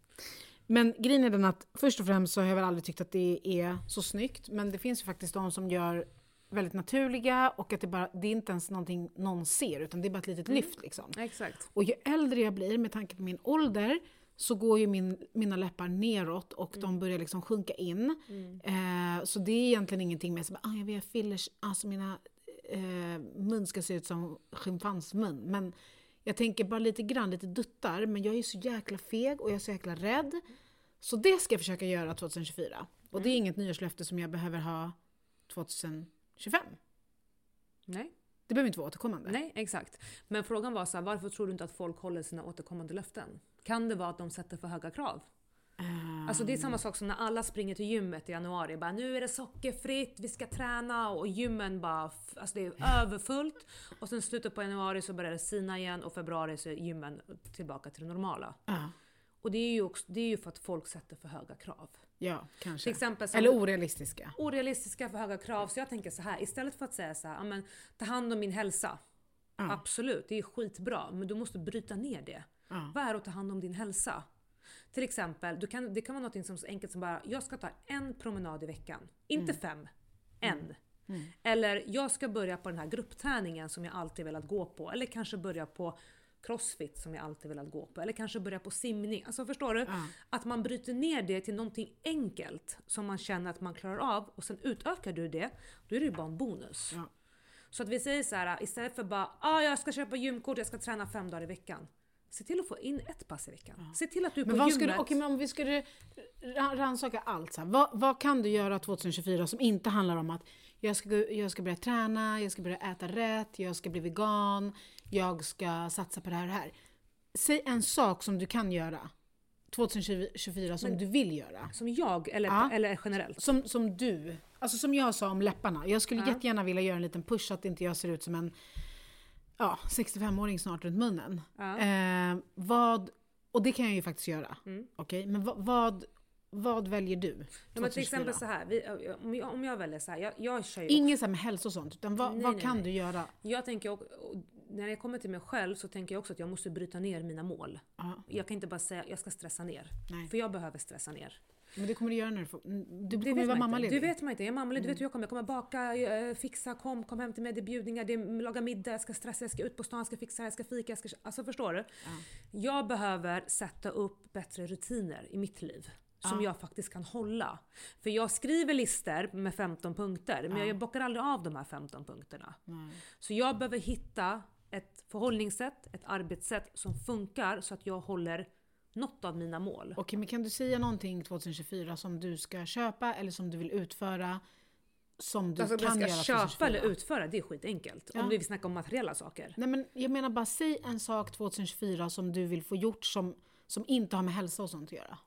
Speaker 2: Men grejen är den att först och främst så har jag väl aldrig tyckt att det är så snyggt. Men det finns ju faktiskt de som gör väldigt naturliga och att det, bara, det är inte ens någonting någon ser utan det är bara ett litet lyft. Liksom.
Speaker 1: Exakt.
Speaker 2: Och ju äldre jag blir, med tanke på min ålder, så går ju min, mina läppar neråt och de börjar liksom sjunka in. Eh, så det är egentligen ingenting med att ah, jag vill ha fillers, alltså mina eh, mun ska se ut som schimpansmun. Men jag tänker bara lite grann, lite duttar, men jag är ju så jäkla feg och jag är så jäkla rädd. Så det ska jag försöka göra 2024. Och det är inget nyårslöfte som jag behöver ha 2025.
Speaker 1: Nej.
Speaker 2: Det behöver inte vara återkommande.
Speaker 1: Nej, exakt. Men frågan var så här, varför tror du inte att folk håller sina återkommande löften? Kan det vara att de sätter för höga krav?
Speaker 2: Eh,
Speaker 1: Alltså det är samma sak som när alla springer till gymmet i januari. Bara, nu är det sockerfritt, vi ska träna och gymmen bara, f- alltså det är överfullt. Och sen slutet på januari så börjar det sina igen och februari så är gymmen tillbaka till det normala.
Speaker 2: ja,
Speaker 1: Och det är ju, också, det är ju för att folk sätter för höga krav.
Speaker 2: ja,
Speaker 1: Till
Speaker 2: kanske.
Speaker 1: exempel som
Speaker 2: Eller orealistiska.
Speaker 1: orealistiska för höga krav. Så jag tänker så här, istället för att säga så här, "Ja, men, ta hand om min hälsa.
Speaker 2: Ja.
Speaker 1: Absolut, det är skitbra. Men du måste bryta ner det.
Speaker 2: Ja.
Speaker 1: Vad är att ta hand om din hälsa? Till exempel, du kan, det kan vara något som så enkelt som bara, jag ska ta en promenad i veckan. Inte
Speaker 2: Mm.
Speaker 1: fem, en. Eller jag ska börja på den här gruppträningen som jag alltid velat gå på. Eller kanske börja på crossfit som jag alltid velat gå på. Eller kanske börja på simning. Alltså förstår du?
Speaker 2: Ja.
Speaker 1: Att man bryter ner det till någonting enkelt som man känner att man klarar av och sen utökar du det, då är det ju bara en bonus.
Speaker 2: Ja.
Speaker 1: Så att vi säger så här istället för bara ah, jag ska köpa gymkort, jag ska träna fem dagar i veckan. Se till att få in ett pass i veckan. Se till att du är
Speaker 2: Men
Speaker 1: på
Speaker 2: vad
Speaker 1: gymmet.
Speaker 2: skulle, okej, men om vi skulle ra- rannsaka allt, så här, vad, vad kan du göra 2024 som inte handlar om att jag ska, gå- jag ska börja träna, jag ska börja äta rätt, jag ska bli vegan, jag ska satsa på det här och det här. Säg en sak som du kan göra 2024 som du vill göra.
Speaker 1: Som jag, eller,
Speaker 2: Ja.
Speaker 1: eller generellt.
Speaker 2: Som, som du, alltså som jag sa om läpparna. Jag skulle
Speaker 1: Ja.
Speaker 2: jättegärna vilja göra en liten push så att inte jag ser ut som en ja, 65-åring snart runt munnen.
Speaker 1: Ja.
Speaker 2: Eh, vad, och det kan jag ju faktiskt göra.
Speaker 1: Mm.
Speaker 2: Okej, men vad, vad, vad väljer du?
Speaker 1: Ja, men till exempel
Speaker 2: 2024?
Speaker 1: så här, vi, äh, om, jag, om jag väljer så här, jag, jag kör ju
Speaker 2: Inget så här med hälsa och sånt, utan vad,
Speaker 1: Nej,
Speaker 2: vad
Speaker 1: nej,
Speaker 2: kan
Speaker 1: nej.
Speaker 2: du göra?
Speaker 1: Jag tänker, och, och, när jag kommer till mig själv så tänker jag också att jag måste bryta ner mina mål.
Speaker 2: Ja,
Speaker 1: Jag kan inte bara säga jag ska stressa ner.
Speaker 2: Nej.
Speaker 1: För jag behöver stressa ner.
Speaker 2: men det kommer du göra när du får... Du
Speaker 1: Det
Speaker 2: kommer
Speaker 1: vet
Speaker 2: ju vara
Speaker 1: man inte.
Speaker 2: mammaledig. Mm.
Speaker 1: Du vet man inte. Jag är mammaledig. Du vet hur jag kommer. Jag kommer baka, eh, fixa, kom, kom hem till mig. Det är bjudningar, det är laga middag, jag ska stressa, jag ska ut på stan, jag ska fixa, jag ska fika. Jag ska... Alltså förstår du? Jag behöver sätta upp bättre rutiner i mitt liv. Som jag faktiskt kan hålla. För jag skriver listor med 15 punkter men jag bockar aldrig av de här 15 punkterna.
Speaker 2: Nej.
Speaker 1: Så jag behöver hitta ett förhållningssätt, ett arbetssätt som funkar så att jag håller något av mina mål.
Speaker 2: Okej, men kan du säga någonting 2024 som du ska köpa eller som du vill utföra? Som du
Speaker 1: Alltså om
Speaker 2: kan
Speaker 1: jag
Speaker 2: göra
Speaker 1: ska köpa
Speaker 2: 2024?
Speaker 1: eller utföra, det är skitenkelt.
Speaker 2: Ja.
Speaker 1: Om vi vill snacka om materiella saker.
Speaker 2: Nej men jag menar bara säg en sak 2024 som du vill få gjort som, som inte har med hälsa och sånt att göra.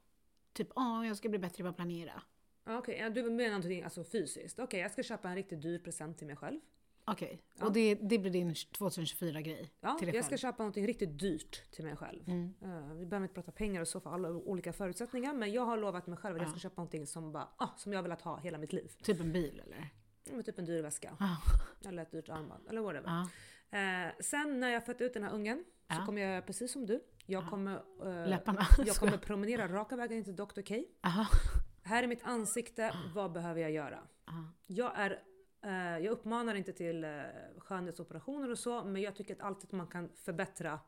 Speaker 2: Typ, ja jag ska bli bättre på att planera.
Speaker 1: Ja, Okej, ja, du menar någonting alltså fysiskt. Okej, jag ska köpa en riktigt dyr present till mig själv.
Speaker 2: Okej, och det, det blir din 2024-grej?
Speaker 1: Ja,
Speaker 2: till dig
Speaker 1: jag ska
Speaker 2: själv. Mm.
Speaker 1: köpa någonting riktigt dyrt till mig själv. Eh, vi behöver inte prata pengar och så för alla olika förutsättningar. Men jag har lovat mig själv att jag ska köpa någonting som, bara, ah, som jag har velat ha hela mitt liv.
Speaker 2: Typ en bil eller?
Speaker 1: Mm, typ en dyr väska.
Speaker 2: Ja.
Speaker 1: Eller ett dyrt armband. Eller whatever.
Speaker 2: Ja.
Speaker 1: Eh, sen när jag fött ut den här ungen
Speaker 2: Ja.
Speaker 1: så kommer jag göra precis som du. Jag kommer, eh,
Speaker 2: Läpparna.
Speaker 1: jag kommer promenera raka vägen in till Dr. K.
Speaker 2: Aha.
Speaker 1: Här är mitt ansikte, vad behöver jag göra?
Speaker 2: Ja.
Speaker 1: Jag, är, eh, jag uppmanar inte till eh, skönhetsoperationer och så, men jag tycker att alltid man kan förbättra.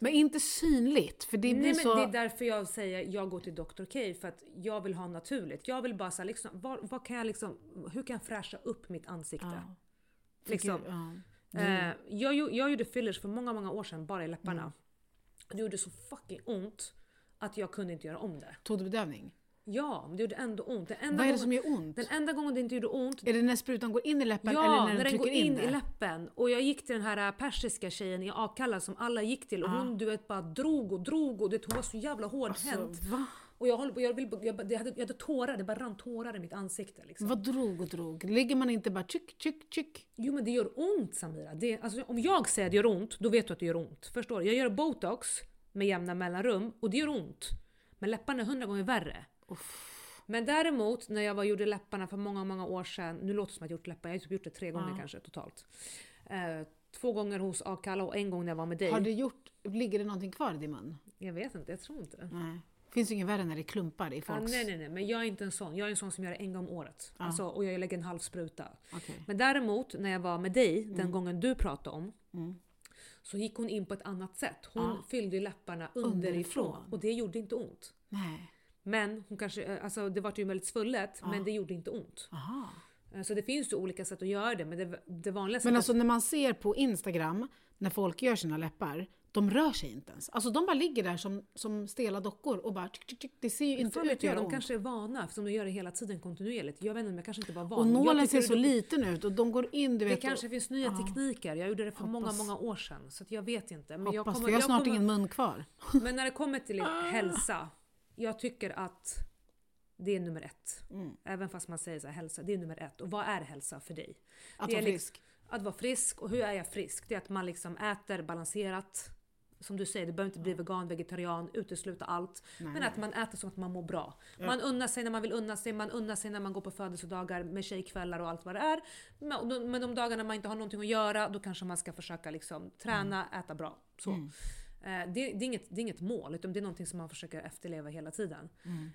Speaker 2: Men inte synligt, för det
Speaker 1: Det,
Speaker 2: blir
Speaker 1: Nej, men
Speaker 2: så...
Speaker 1: det är därför jag säger jag går till Dr. K för att jag vill ha naturligt. Jag vill bara så här, liksom, var, vad kan jag liksom, hur kan jag fräscha upp mitt ansikte?
Speaker 2: Ja.
Speaker 1: Liksom.
Speaker 2: Gud, ja. mm.
Speaker 1: Eh, jag, gjo- jag gjorde fillers för många, många år sedan bara i läpparna. Det gjorde så fucking ont att jag kunde inte göra om det.
Speaker 2: Tog du bedövning?
Speaker 1: Ja, men det gjorde ändå ont. Den enda,
Speaker 2: Vad är det
Speaker 1: gången,
Speaker 2: som gör ont?
Speaker 1: den enda gången det inte gjorde ont,
Speaker 2: Är det när sprutan går in i läppen
Speaker 1: ja,
Speaker 2: eller när,
Speaker 1: när
Speaker 2: du
Speaker 1: den
Speaker 2: trycker
Speaker 1: går in,
Speaker 2: det?
Speaker 1: i läppen. Och jag gick till den här äh, persiska tjejen i Akalla som alla gick till och
Speaker 2: Ah.
Speaker 1: hon du vet bara drog och drog och det, hon var så jävla hårdhänt.
Speaker 2: Alltså, va?
Speaker 1: Och jag, höll på, jag, vill, jag, bara- jag, hade, jag hade tårar, det bara rann tårar i mitt ansikte. Liksom.
Speaker 2: Vad drog och drog? Ligger man inte bara tryck, tryck, tryck?
Speaker 1: Jo men det gör ont Samira. Det, alltså, om jag säger att det gör ont, då vet du att det gör ont. Förstår du? Jag gör botox med jämna mellanrum och det gör ont. Men läpparna är hundra gånger värre. Men däremot när jag var, gjorde läpparna för många, många år sedan. Nu låter det som att jag gjort läppar, jag har typ gjort det tre gånger kanske totalt. Eh, två gånger hos Akalla och en gång när jag var med dig.
Speaker 2: Har det gjort, ligger det någonting kvar i din mun?
Speaker 1: Jag vet inte, jag tror inte det.
Speaker 2: Nej. finns ju inget värre när det är klumpar i
Speaker 1: Ja,
Speaker 2: folks...
Speaker 1: nej, nej, nej, men jag är inte en sån. Jag är en sån som gör det en gång om året. Alltså, och jag lägger en halv spruta.
Speaker 2: Okej. Mm.
Speaker 1: Men däremot när jag var med dig den gången du pratade om så gick hon in på ett annat sätt. Hon fyllde ju läpparna underifrån,
Speaker 2: Underifrån.
Speaker 1: och det gjorde inte ont.
Speaker 2: Nej.
Speaker 1: Men hon kanske, eh, alltså det var ju väldigt svullet men det gjorde inte ont.
Speaker 2: Aha.
Speaker 1: Eh, Så det finns ju olika sätt att göra det men det, det vanliga sättet...
Speaker 2: Men alltså när man ser på Instagram, när folk gör sina läppar, de rör sig inte ens. Alltså de bara ligger där som, som stela dockor och bara tsk, tsk, tsk. Det ser ju inte
Speaker 1: Fan
Speaker 2: ut
Speaker 1: vet
Speaker 2: att
Speaker 1: jag,
Speaker 2: göra
Speaker 1: de
Speaker 2: ont.
Speaker 1: kanske är vana för de gör det hela tiden kontinuerligt. Jag vet inte, men jag kanske inte var van.
Speaker 2: Och
Speaker 1: Jag
Speaker 2: nålen
Speaker 1: tycker
Speaker 2: ser så
Speaker 1: det-
Speaker 2: liten ut och de går in du
Speaker 1: Det
Speaker 2: vet.
Speaker 1: kanske
Speaker 2: och,
Speaker 1: finns nya tekniker. Jag gjorde det för många,
Speaker 2: Hoppas.
Speaker 1: många år sedan. Så att jag vet inte. Men,
Speaker 2: hoppas,
Speaker 1: jag kommer,
Speaker 2: för jag har snart
Speaker 1: kommer,
Speaker 2: ingen Ah. mun kvar.
Speaker 1: men när det kommer till hälsa, jag tycker att det är nummer ett.
Speaker 2: Mm.
Speaker 1: Även fast man säger så här, hälsa, det är nummer ett. Och vad är hälsa för dig?
Speaker 2: Att
Speaker 1: Det
Speaker 2: vara
Speaker 1: är liksom-
Speaker 2: frisk.
Speaker 1: Att vara frisk. Och hur är jag frisk? Det är att man liksom äter balanserat. Som du säger, du behöver inte bli vegan, vegetarian, utesluta allt. men att man äter så att man mår bra. Man unnar sig när man vill unna sig, man unnar sig när man går på födelsedagar med tjejkvällar och allt vad det är. Men men de dagarna man inte har någonting att göra, då kanske man ska försöka liksom träna, äta bra. Så. Eh, Det, det, är inget, det är inget mål, utan det är någonting som man försöker efterleva hela tiden.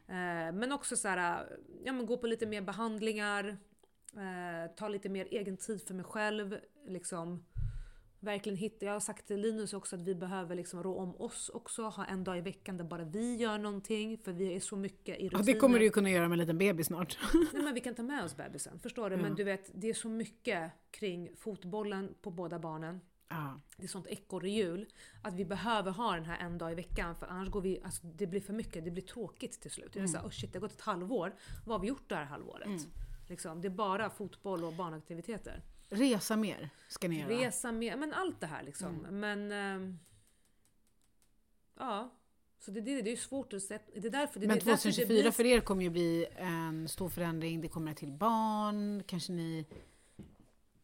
Speaker 1: Eh, Men också så här, ja, men gå på lite mer behandlingar, eh, ta lite mer egen tid för mig själv. Liksom, verkligen hitta, jag har sagt till Linus också att vi behöver liksom rå om oss också, ha en dag i veckan där bara vi gör någonting för vi är så mycket i
Speaker 2: Ja,
Speaker 1: rutiner.
Speaker 2: det kommer du ju kunna göra med en liten bebis snart.
Speaker 1: Nej, men vi kan ta med oss bebisen, förstår du?
Speaker 2: Mm.
Speaker 1: Men du vet, det är så mycket kring fotbollen på båda barnen.
Speaker 2: ja.
Speaker 1: Det är sånt ekorrhjul. Att vi behöver ha den här en dag i veckan för annars går vi, alltså, det blir för mycket, det blir tråkigt till slut. Det är
Speaker 2: Mm.
Speaker 1: så här, oh shit, det har gått ett halvår, vad har vi gjort det här halvåret? Liksom, det är bara fotboll och barnaktiviteter.
Speaker 2: Resa mer ska ni göra.
Speaker 1: Resa med, men allt det här liksom.
Speaker 2: Mm.
Speaker 1: Men... ehm, ja. Så det, det, det är svårt att sätta... Det är därför det,
Speaker 2: Men
Speaker 1: det, är därför
Speaker 2: 2024
Speaker 1: det blir-
Speaker 2: för er kommer ju bli en stor förändring. Det kommer till barn, kanske ni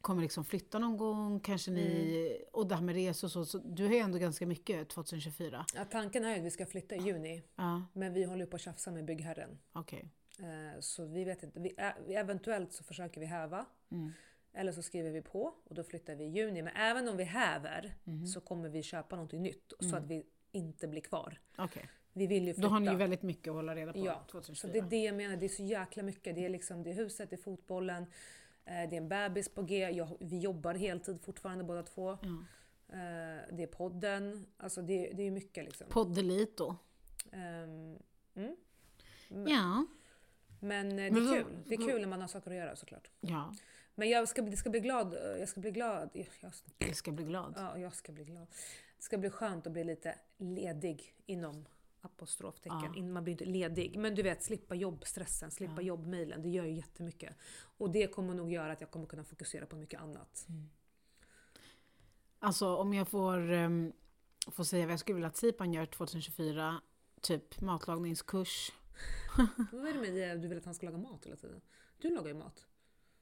Speaker 2: kommer liksom flytta någon gång, kanske ni...
Speaker 1: Mm.
Speaker 2: Och det här med resor och så, så. Du har ju ändå ganska mycket 2024.
Speaker 1: Ja, tanken är ju att vi ska flytta i juni.
Speaker 2: Ja,
Speaker 1: Men vi håller ju på att tjafsa med byggherren.
Speaker 2: okej.
Speaker 1: Eh, så vi vet inte. Vi, ä, eventuellt så försöker vi häva.
Speaker 2: Mm.
Speaker 1: Eller så skriver vi på och då flyttar vi i juni. Men även om vi häver
Speaker 2: Mm-hmm. Mm.
Speaker 1: så kommer vi köpa någonting nytt. Så att vi inte blir kvar.
Speaker 2: Okej.
Speaker 1: Vi vill ju flytta.
Speaker 2: Mm. Då har ni ju väldigt mycket att hålla reda på
Speaker 1: Ja, så
Speaker 2: 2024.
Speaker 1: det är det jag menar. Det är så jäkla mycket. Det är liksom det är huset, det är fotbollen, eh, det är en bebis på G. Jag, vi jobbar heltid fortfarande båda två. Eh, det är podden. Alltså det, det är ju mycket liksom.
Speaker 2: Poddelito.
Speaker 1: Ehm, Mm.
Speaker 2: Ja.
Speaker 1: men eh, det
Speaker 2: Men
Speaker 1: är
Speaker 2: vad-
Speaker 1: kul. Det är kul när man har saker att göra såklart.
Speaker 2: Ja,
Speaker 1: Men jag ska, bli- det ska bli glad. eh, Jag ska bli glad. Jag, jag,
Speaker 2: jag ska bli glad.
Speaker 1: ja, jag ska bli glad. Det ska bli skönt att bli lite ledig inom apostroftecken. In- Man blir inte ledig. Men du vet, slippa jobbstressen, slippa jobbmailen. Det gör ju jättemycket. Och det kommer nog göra att jag kommer kunna fokusera på mycket annat.
Speaker 2: Alltså om jag får, um, får säga vad jag skulle vilja att Sipan gör 2024. Typ matlagningskurs.
Speaker 1: Vad är det med det? Du vill att han ska laga mat hela tiden? Du lagar ju mat.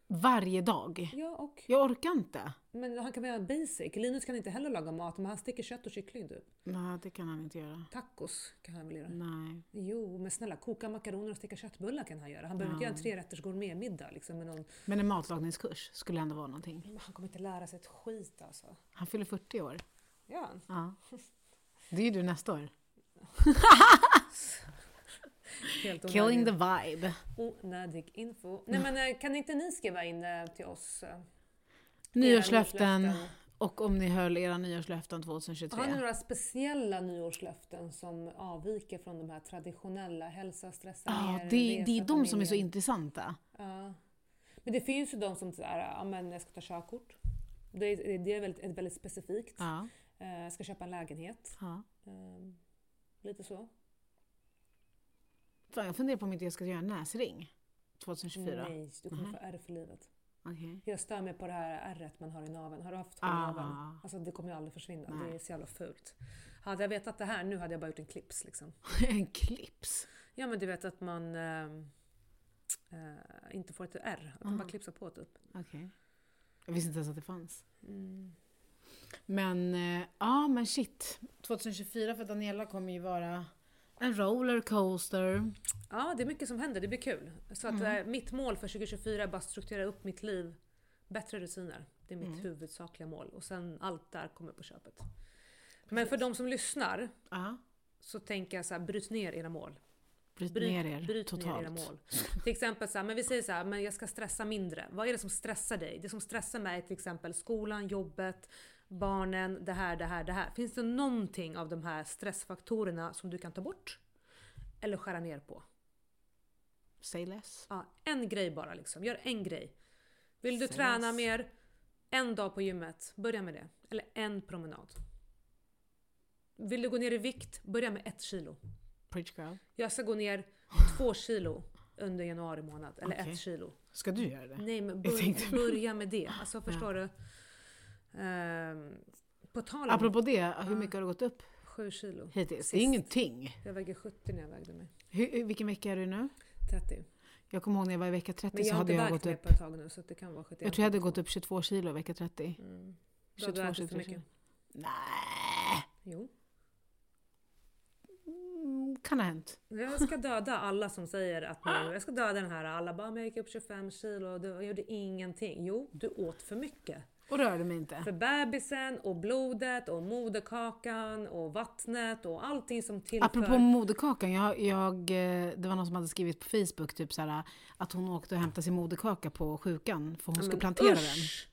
Speaker 2: Varje dag.
Speaker 1: Ja, och?
Speaker 2: Jag orkar inte.
Speaker 1: Men han kan väl göra basic? Linus kan inte heller laga mat, men han steker kött och kyckling typ.
Speaker 2: Nej, det kan han inte göra.
Speaker 1: Tacos kan han väl göra?
Speaker 2: Nej.
Speaker 1: Jo, men snälla, koka makaroner och steka köttbullar kan han göra. Han behöver inte göra en trerätters gourmetmiddag liksom med någon...
Speaker 2: Men en matlagningskurs skulle ändå vara någonting.
Speaker 1: Men Han kommer inte lära sig ett skit alltså.
Speaker 2: Han fyller 40 år.
Speaker 1: Ja.
Speaker 2: Ja. Det är ju du nästa år.
Speaker 1: Helt
Speaker 2: Killing
Speaker 1: onödig,
Speaker 2: the vibe.
Speaker 1: onödig info. Nej men eh, kan inte ni skriva in eh, till oss? eh, era
Speaker 2: Nyårslöften.
Speaker 1: nyårslöften?
Speaker 2: Och om ni höll era nyårslöften
Speaker 1: Har ni
Speaker 2: 2023.
Speaker 1: några speciella nyårslöften som avviker från de här traditionella? Hälsa, stressa
Speaker 2: Ja,
Speaker 1: ner,
Speaker 2: det,
Speaker 1: resa,
Speaker 2: det är de som är så
Speaker 1: familjen?
Speaker 2: intressanta.
Speaker 1: Ja. Men det finns ju de som sådär, ja men jag ska ta körkort. Det är, det är väldigt, ett väldigt specifikt.
Speaker 2: Ja.
Speaker 1: Eh, Jag ska köpa en lägenhet.
Speaker 2: ja.
Speaker 1: Ehm, lite så.
Speaker 2: Fan, jag funderar på om inte jag ska göra en näsring 2024.
Speaker 1: Nej, du
Speaker 2: Mhm.
Speaker 1: kommer få ärr för livet.
Speaker 2: Okej.
Speaker 1: Jag stör mig på det här ärret man har i naveln. Har du haft hår i
Speaker 2: Ah.
Speaker 1: naveln? Alltså det kommer ju aldrig försvinna. Det
Speaker 2: Nej.
Speaker 1: är så jävla fult. Hade jag vetat det här nu hade jag bara gjort en clips liksom.
Speaker 2: en clips.
Speaker 1: Ja men du vet att man ehm, eh, inte får ett ärr. Att man bara klipsar på typ.
Speaker 2: Okej. Jag visste inte ens att det fanns.
Speaker 1: Mm.
Speaker 2: Men eh, ja, men shit. 2024 för Daniela kommer ju vara en rollercoaster.
Speaker 1: Ja, det är mycket som händer. Det blir kul. Så att, eh, mitt mål för 2024 är bara att strukturera upp mitt liv. Bättre rutiner. Det är mitt huvudsakliga mål. Och sen allt där kommer på köpet. Men för de som lyssnar
Speaker 2: Ja.
Speaker 1: så tänker jag så här, bryt ner era mål.
Speaker 2: Bryt,
Speaker 1: Bryt,
Speaker 2: ner er
Speaker 1: bryt
Speaker 2: totalt.
Speaker 1: ner era mål. Till exempel så här, men vi säger så här, men jag ska stressa mindre. Vad är det som stressar dig? Det som stressar mig är till exempel skolan, jobbet, barnen, det här, det här, det här. Finns det någonting av de här stressfaktorerna som du kan ta bort? Eller skära ner på?
Speaker 2: Say less.
Speaker 1: Ja, en grej bara liksom. Gör en grej. Vill du
Speaker 2: Ses.
Speaker 1: träna mer? En dag på gymmet. Börja med det. Eller en promenad. Vill du gå ner i vikt? Börja med ett kilo.
Speaker 2: Preach girl.
Speaker 1: Jag ska gå ner två kilo under januari månad. Eller
Speaker 2: Okej.
Speaker 1: ett kilo.
Speaker 2: Ska du göra det?
Speaker 1: Nej men
Speaker 2: Jag tänkte-
Speaker 1: bör, börja med det. Alltså förstår du? Ehm, på tal om
Speaker 2: Apropå det, hur mycket har det gått upp
Speaker 1: sju kilo.
Speaker 2: hittills?
Speaker 1: Sist.
Speaker 2: Ingenting.
Speaker 1: Jag väger 70 när jag vägde mig.
Speaker 2: Hur, hur- vilken vecka är du nu?
Speaker 1: 30.
Speaker 2: Jag kommer ihåg när jag var i vecka 30
Speaker 1: Men jag
Speaker 2: så
Speaker 1: har inte
Speaker 2: hade jag
Speaker 1: vägt
Speaker 2: gått
Speaker 1: mig
Speaker 2: upp.
Speaker 1: på ett tag nu så att det kan vara 71.
Speaker 2: Jag tror jag hade gått upp 22 kilo i vecka 30.
Speaker 1: Mm. Då har
Speaker 2: 22,
Speaker 1: du ätit
Speaker 2: 23
Speaker 1: för
Speaker 2: kilo.
Speaker 1: mycket.
Speaker 2: Nej.
Speaker 1: Jo.
Speaker 2: Mm, kan ha hänt.
Speaker 1: Jag ska döda alla som säger att man, jag ska döda den här. Alla bara, men jag gick upp 25 kilo och det- jag gjorde ingenting. Jo, du åt för mycket.
Speaker 2: Och rörde mig inte.
Speaker 1: För bebisen och blodet och moderkakan och vattnet och allting som tillför.
Speaker 2: Apropå moderkakan, jag, jag, eh, det var någon som hade skrivit på Facebook typ så här, att hon åkte och hämtade sin moderkaka på sjukan för hon skulle plantera den.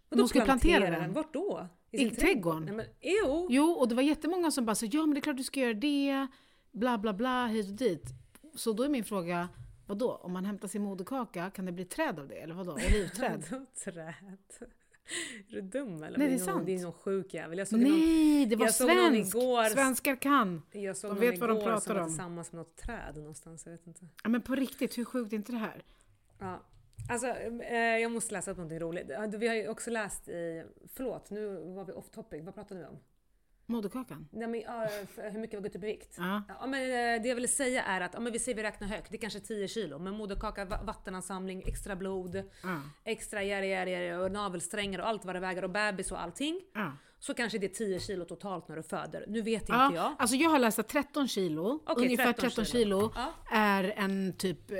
Speaker 1: Vadå
Speaker 2: Hon skulle plantera den.
Speaker 1: Vart då?
Speaker 2: I
Speaker 1: sin
Speaker 2: trädgården.
Speaker 1: Nej, men, jo!
Speaker 2: Jo, och det var jättemånga som bara sa ja men det är klart du ska göra det, bla bla bla, hit och dit. Så då är min fråga, vadå? Om man hämtar sin moderkaka, kan det bli träd av det? Eller vadå? Olivträd?
Speaker 1: Vadå träd? Är du dum eller?
Speaker 2: Nej, det är
Speaker 1: någon,
Speaker 2: sant.
Speaker 1: Det är någon sjuk jävel. Jag såg någon,
Speaker 2: Nej, det var
Speaker 1: jag såg någon
Speaker 2: svenskt!
Speaker 1: igår-
Speaker 2: Svenskar kan!
Speaker 1: jag såg
Speaker 2: de
Speaker 1: någon
Speaker 2: vet vad de
Speaker 1: igår
Speaker 2: pratar
Speaker 1: som var
Speaker 2: om.
Speaker 1: tillsammans med något träd någonstans. Jag vet inte.
Speaker 2: Ja, men på riktigt, hur sjukt är inte det här?
Speaker 1: Ja. Alltså, eh, jag måste läsa upp någonting roligt. Ja, Vi har ju också läst i... Förlåt, nu var vi off topic. Vad pratade vi om?
Speaker 2: Moderkakan?
Speaker 1: Nej, men, ja, f- hur mycket vi har gått upp i vikt?
Speaker 2: Ja.
Speaker 1: Ja, men, eh, det jag ville säga är att ja, men vi säger vi räknar högt, det är kanske 10 kilo. Men moderkaka, va- vattenansamling, extra blod,
Speaker 2: ja.
Speaker 1: extra järi, järi, järi, och navelsträngar och allt vad det väger och bebis och allting.
Speaker 2: ja.
Speaker 1: Så kanske det är 10 kilo totalt när du föder. Nu vet inte
Speaker 2: Ja,
Speaker 1: jag.
Speaker 2: Alltså jag har läst att 13 kilo,
Speaker 1: Okej,
Speaker 2: ungefär 13,
Speaker 1: 13
Speaker 2: kilo,
Speaker 1: kilo. Ja.
Speaker 2: är en typ... eh,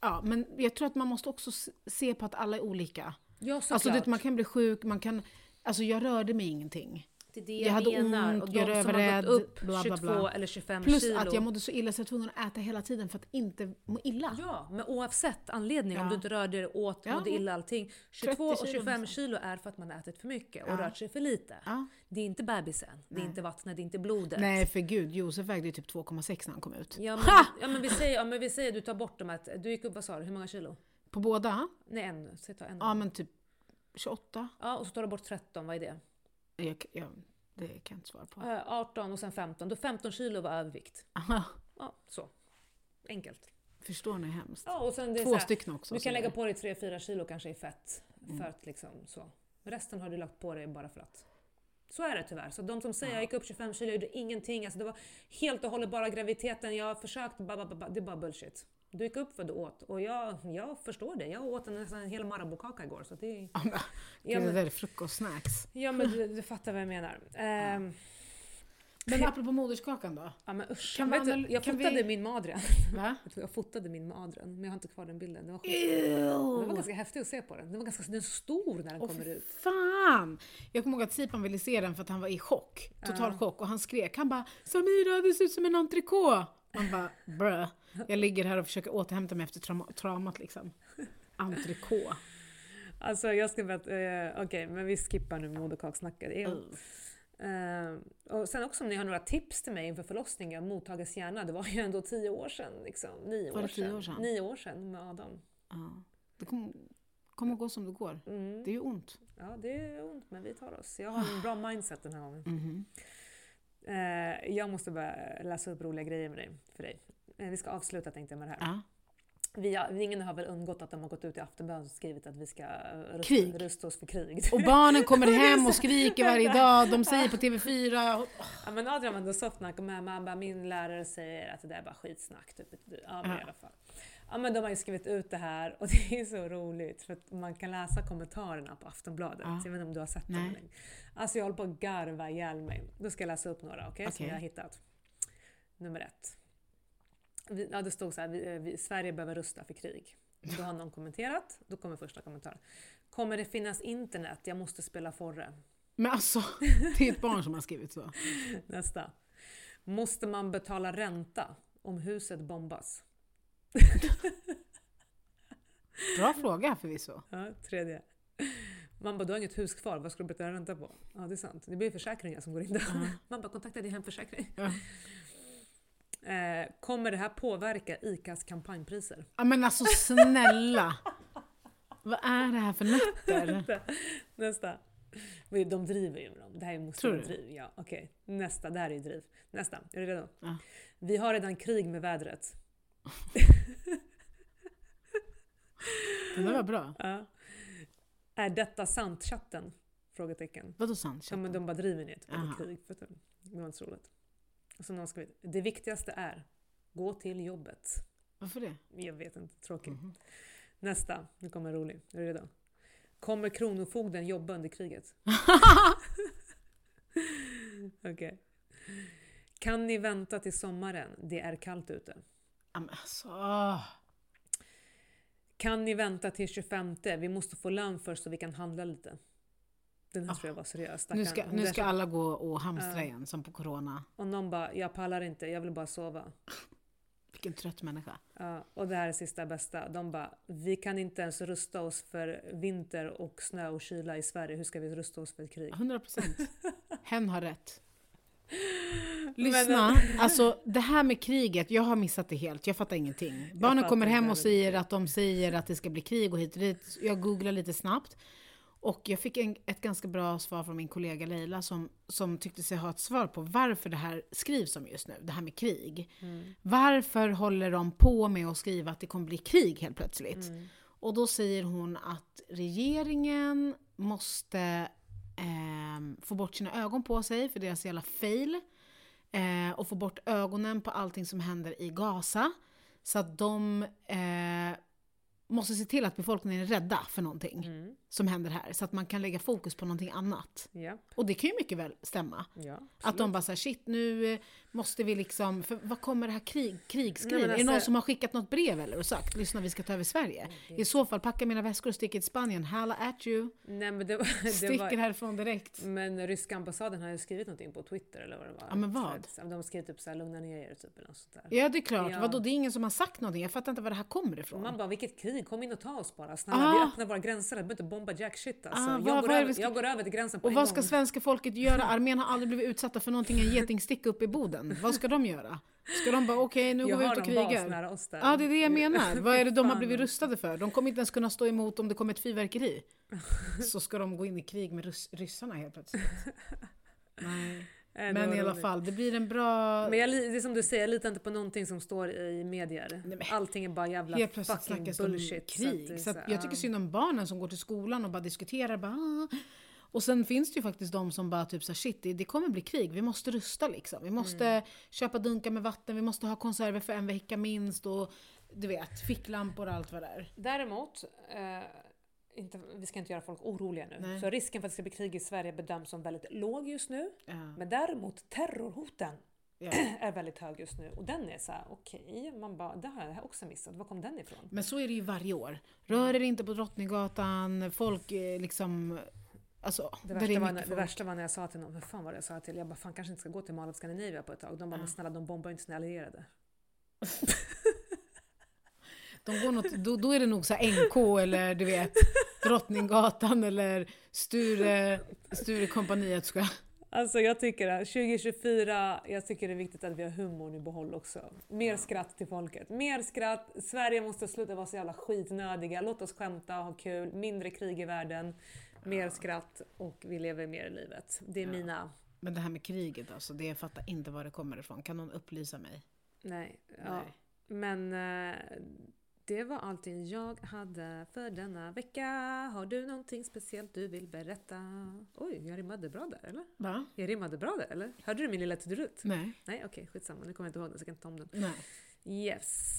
Speaker 2: Ja, men jag tror att man måste också s- se på att alla är olika.
Speaker 1: Ja såklart.
Speaker 2: Alltså, du vet, man kan bli sjuk, man kan... Alltså jag rörde mig ingenting.
Speaker 1: det är det
Speaker 2: jag hade ont,
Speaker 1: och de
Speaker 2: jag
Speaker 1: som har
Speaker 2: rövarrädd,
Speaker 1: gått upp
Speaker 2: bla, bla, bla.
Speaker 1: 22 eller 25
Speaker 2: Plus
Speaker 1: kilo.
Speaker 2: att jag mådde så illa så jag var tvungen att äta hela tiden för att inte må illa.
Speaker 1: Ja, men oavsett anledning,
Speaker 2: Ja.
Speaker 1: om du inte rörde dig åt,
Speaker 2: Ja.
Speaker 1: mådde illa allting. 22
Speaker 2: 30
Speaker 1: och
Speaker 2: kilo
Speaker 1: 25
Speaker 2: liksom.
Speaker 1: kilo är för att man har ätit för mycket och
Speaker 2: Ja.
Speaker 1: rört sig för lite.
Speaker 2: Ja.
Speaker 1: Det är inte bebisen, det är inte vattnet, det är inte blodet.
Speaker 2: Nej för gud, Josef vägde ju typ 2,6 när han kom ut.
Speaker 1: Ja, men, ja, men vi säger, ja, men vi säger du tar bort de här, du gick upp, vad sa du, hur många kilo?
Speaker 2: På båda?
Speaker 1: Nej en, så jag tar en.
Speaker 2: Ja
Speaker 1: Ja.
Speaker 2: men typ 28.
Speaker 1: och så tar du bort 13, vad är det?
Speaker 2: Jag, jag, det kan jag inte svara på.
Speaker 1: Eh, 18 och sen 15, då 15 kilo var övervikt.
Speaker 2: Aha,
Speaker 1: Ja, så. Enkelt.
Speaker 2: förstår ni hur hemskt?
Speaker 1: Ja, och sen det är så
Speaker 2: Två
Speaker 1: här,
Speaker 2: stycken också.
Speaker 1: Du
Speaker 2: så
Speaker 1: kan lägga
Speaker 2: där.
Speaker 1: på dig 3-4 kilo kanske i fett. För att liksom så. Resten har du lagt på dig bara för att. Så är det tyvärr. Så de som säger jag gick upp 25 kilo, jag gjorde ingenting. Alltså det var helt och hållet bara graviditeten. Jag har försökt, ba, ba, ba, ba. det är bara bullshit. Du gick upp vad du åt och jag, jag förstår det. Jag åt en, nästan en hel Marabou-kaka igår. Så det, är-
Speaker 2: Ja, men,
Speaker 1: ja,
Speaker 2: gud, det
Speaker 1: men,
Speaker 2: där är frukostsnacks.
Speaker 1: ja, men du, du fattar vad jag menar. Ehm,
Speaker 2: Men apropå moderskakan då?
Speaker 1: ja, men usch.
Speaker 2: Kan vi
Speaker 1: Vet du,
Speaker 2: anal-
Speaker 1: jag
Speaker 2: kan vi-
Speaker 1: fotade min madren.
Speaker 2: Va?
Speaker 1: Vet du, Jag fotade min madren, men jag har inte kvar den bilden. Det var skit. Den var
Speaker 2: Ew.
Speaker 1: ganska häftig att se på den. Den var ganska den är stor när den
Speaker 2: Åh,
Speaker 1: kommer
Speaker 2: fy
Speaker 1: ut.
Speaker 2: Fan! Jag kommer ihåg att Sipan ville se den för att han var i chock. Total chock. Och han skrek. Han bara “Samira, du ser ut som en entrecote!” Man bara “Bruh, jag ligger här och försöker återhämta mig efter trauma- traumat liksom”. Entrecote.
Speaker 1: Alltså jag ska berätta, eh, okej men vi skippar nu moderkaksnacket. Mm. och sen också om ni har några tips till mig inför förlossningen, mottagas gärna. Det var ju ändå tio år sedan. Liksom. Nio,
Speaker 2: Var
Speaker 1: år
Speaker 2: det tio
Speaker 1: sedan.
Speaker 2: år sedan?
Speaker 1: nio år sedan med Adam.
Speaker 2: Ja. Det kommer kom att gå som det går.
Speaker 1: Mm.
Speaker 2: Det Ah. är ju ont.
Speaker 1: Ja det är ont men vi tar oss. Jag har en bra mindset den här gången.
Speaker 2: Mhm.
Speaker 1: Eh, jag måste börja läsa upp roliga grejer med dig, för dig. Eh, vi ska avsluta tänkte jag med det här.
Speaker 2: Ja.
Speaker 1: Vi har, ingen har väl undgått att de har gått ut i Aftonbladet och skrivit att vi ska eh, rusta,
Speaker 2: Krig.
Speaker 1: rusta oss för krig.
Speaker 2: Och barnen kommer hem och skriker varje dag. De säger på TV4.
Speaker 1: Ja men Adrian var ändå soft när han kom hem. Han bara, min lärare säger att det där är bara skitsnack. Typ. Ja men
Speaker 2: Ja.
Speaker 1: i alla fall. Ja men de har ju skrivit ut det här och det är så roligt för att man kan läsa kommentarerna på Aftonbladet.
Speaker 2: Ja.
Speaker 1: Jag vet inte om du har sett
Speaker 2: Nej.
Speaker 1: dem längre. Alltså jag håller på att garva ihjäl mig. Då ska jag läsa upp några, okej? Som
Speaker 2: Okej.
Speaker 1: jag har hittat. Nummer ett. Vi, ja, det stod så här, vi, eh, vi, Sverige behöver rusta för krig. Då har någon kommenterat, då kommer första kommentaren. Kommer det finnas internet? Jag måste spela Forre.
Speaker 2: Men alltså, det är ett barn som har skrivit så.
Speaker 1: Nästa. Måste man betala ränta om huset bombas?
Speaker 2: Bra fråga förvisso.
Speaker 1: Ja, tredje. Man bara, du har inget hus kvar, vad ska du betala ränta på? Ja, det är sant. Det blir försäkringar som går in där. Man bara, kontakta din hemförsäkring.
Speaker 2: Ja.
Speaker 1: Eh, kommer det här påverka ICAs kampanjpriser?
Speaker 2: Ja, men alltså snälla! Vad är det här för nötter?
Speaker 1: Nästa. Men De driver ju med dem. Det här måste
Speaker 2: Tror
Speaker 1: vara
Speaker 2: du?
Speaker 1: driv. Ja, okej. Nästa. Det här är ju driv. Nästa. Är du redo?
Speaker 2: Ja.
Speaker 1: Vi har redan krig med vädret.
Speaker 2: Den där var bra.
Speaker 1: Ja. Är detta sant chatten? Frågetecken.
Speaker 2: Vadå sant?
Speaker 1: Ja, men
Speaker 2: chatten?
Speaker 1: de bara driver ner typ,
Speaker 2: Aha.
Speaker 1: med krig. För att de- det var inte så roligt. Och så någon skrivit, det viktigaste är, gå till jobbet.
Speaker 2: Varför det?
Speaker 1: Jag vet inte, tråkigt.
Speaker 2: Mhm.
Speaker 1: Nästa, nu kommer en rolig. Är du redo? Kommer Kronofogden jobba under kriget? Okej. Kan ni vänta till sommaren? Det är kallt ute.
Speaker 2: Ja, men alltså, åh.
Speaker 1: Kan ni vänta till 25? Vi måste få lön först så vi kan handla lite. Den här tror jag var seriös.
Speaker 2: Ah. nu,
Speaker 1: stackarn.
Speaker 2: ska,
Speaker 1: Den
Speaker 2: nu
Speaker 1: där-
Speaker 2: ska alla gå och hamstra igen som på corona.
Speaker 1: Och någon bara, jag pallar inte, jag vill bara sova.
Speaker 2: Vilken trött människa.
Speaker 1: Ja, och det här är sista bästa. De bara, vi kan inte ens rusta oss för vinter och snö och kyla i Sverige. Hur ska vi rusta oss för ett krig?
Speaker 2: 100 procent. Hen har rätt.
Speaker 1: Men-
Speaker 2: Lyssna, alltså det här med kriget, jag har missat det helt. Jag fattar ingenting. Barnen
Speaker 1: fattar
Speaker 2: kommer
Speaker 1: inte
Speaker 2: hem
Speaker 1: heller.
Speaker 2: och säger att de säger att det ska bli krig och hit och dit. Jag googlar lite snabbt. Och jag fick en, ett ganska bra svar från min kollega Leila som, som tyckte sig ha ett svar på varför det här skrivs om just nu, det här med krig.
Speaker 1: Mm.
Speaker 2: Varför håller de på med att skriva att det kommer bli krig helt plötsligt?
Speaker 1: Mm.
Speaker 2: Och då säger hon att regeringen måste ehm, få bort sina ögon på sig för deras jävla fail. Eh, och få bort ögonen på allting som händer i Gaza. Så att de eh, måste se till att befolkningen är rädda för någonting
Speaker 1: Mm.
Speaker 2: som händer här. Så att man kan lägga fokus på någonting annat.
Speaker 1: Ja,
Speaker 2: Och det kan ju mycket väl stämma.
Speaker 1: ja.
Speaker 2: Att de bara såhär, shit nu eh, måste vi liksom, för vad kommer det här krig, krigsgrejen?
Speaker 1: Nej, men
Speaker 2: är det någon
Speaker 1: alltså-
Speaker 2: som har skickat något brev eller och sagt, lyssna vi ska ta över Sverige? I så fall, packa mina väskor och stick till Spanien, halla at you!
Speaker 1: Nej, men det, var- det
Speaker 2: Sticker
Speaker 1: var,
Speaker 2: härifrån direkt.
Speaker 1: Men ryska ambassaden har ju skrivit någonting på Twitter eller vad det var.
Speaker 2: Ja, men vad?
Speaker 1: Så att De skrev typ såhär “lugna ner er” typ eller något sånt där.
Speaker 2: Ja det är klart,
Speaker 1: Ja.
Speaker 2: vadå det är ingen som har sagt någonting, jag fattar inte var det här kommer ifrån.
Speaker 1: Man bara “vilket krig, kom in och ta oss bara, snälla vi
Speaker 2: Ah.
Speaker 1: öppnar våra gränser, vi behöver inte bomba jack shit alltså.
Speaker 2: Ah,
Speaker 1: jag,
Speaker 2: vad-
Speaker 1: går
Speaker 2: vad är det
Speaker 1: över,
Speaker 2: vi ska-
Speaker 1: jag går över till gränsen på
Speaker 2: och
Speaker 1: en
Speaker 2: vad ska
Speaker 1: gång.
Speaker 2: svenska folket göra? Armén har aldrig blivit utsatta för någonting, en getingsticka uppe i Boden. Vad ska de göra? Ska de bara okej nu
Speaker 1: jag
Speaker 2: går vi
Speaker 1: har
Speaker 2: ut och
Speaker 1: någon bas
Speaker 2: krigar?
Speaker 1: nära oss där.
Speaker 2: Ja, det är det jag menar. Vad är det de har
Speaker 1: Fan.
Speaker 2: blivit rustade för? De kommer inte ens kunna stå emot om det kommer ett fyrverkeri. Så ska de gå in i krig med rys- ryssarna helt plötsligt. Nej.
Speaker 1: Eh, det
Speaker 2: Men
Speaker 1: var
Speaker 2: i alla
Speaker 1: roligt.
Speaker 2: fall, det blir en bra...
Speaker 1: Men jag, li- det är som du säger, jag litar inte på någonting som står i medier.
Speaker 2: men-
Speaker 1: Allting är bara jävla
Speaker 2: Helt plötsligt
Speaker 1: fucking
Speaker 2: snackas det om
Speaker 1: bullshit.
Speaker 2: krig. Så
Speaker 1: det är
Speaker 2: att
Speaker 1: här,
Speaker 2: jag tycker
Speaker 1: ah.
Speaker 2: synd om barnen som går till skolan och bara diskuterar. Bara, "Ah." och sen finns det ju faktiskt de som bara typ så här, shit det, det kommer bli krig, vi måste rusta liksom. Vi måste
Speaker 1: Mm.
Speaker 2: köpa dunkar med vatten, vi måste ha konserver för en vecka minst och du vet, ficklampor och allt vad det är.
Speaker 1: Däremot, eh, inte, vi ska inte göra folk oroliga nu.
Speaker 2: Nej.
Speaker 1: Så risken för att det ska bli krig i Sverige bedöms som väldigt låg just nu.
Speaker 2: Ja.
Speaker 1: Men däremot terrorhoten
Speaker 2: Ja.
Speaker 1: är väldigt hög just nu och den är så här: okej, man bara det här har jag också missat, var kom den ifrån?
Speaker 2: Men så är det ju varje år. Rör er inte på Drottninggatan, folk eh, liksom... Alltså,
Speaker 1: Det
Speaker 2: där är
Speaker 1: värsta, var
Speaker 2: mycket
Speaker 1: när, det
Speaker 2: folk.
Speaker 1: värsta var när jag sa till någon, vad fan var det jag sa till? Jag bara, fan kanske inte ska gå till Mall of Scandinavia på ett tag. De bara, men snälla de bombar ju inte sina allierade.
Speaker 2: De går något, då, då är det nog så här NK eller du vet Drottninggatan eller Sture, Sture kompaniet ska.
Speaker 1: Alltså jag tycker att 2024, jag tycker det är viktigt att vi har humorn i behåll också. Mer skratt till folket. Mer skratt. Sverige måste sluta vara så jävla skitnödiga. Låt oss skämta och ha kul. Mindre krig i världen. Mer skratt och vi lever mer i livet. Det är mina...
Speaker 2: Men det här med kriget alltså, det jag fattar inte var det kommer ifrån. Kan någon upplysa mig?
Speaker 1: Nej. Ja.
Speaker 2: Nej.
Speaker 1: Men eh, det var allting jag hade för denna vecka. Har du någonting speciellt du vill berätta? Oj, jag rimmade bra där eller?
Speaker 2: Va?
Speaker 1: Jag rimmade bra där eller? Hörde du min lilla trudelutt?
Speaker 2: Nej.
Speaker 1: Nej okej, skitsamma. Nu kommer jag inte ihåg den så jag kan inte ta om den.
Speaker 2: Nej.
Speaker 1: Yes.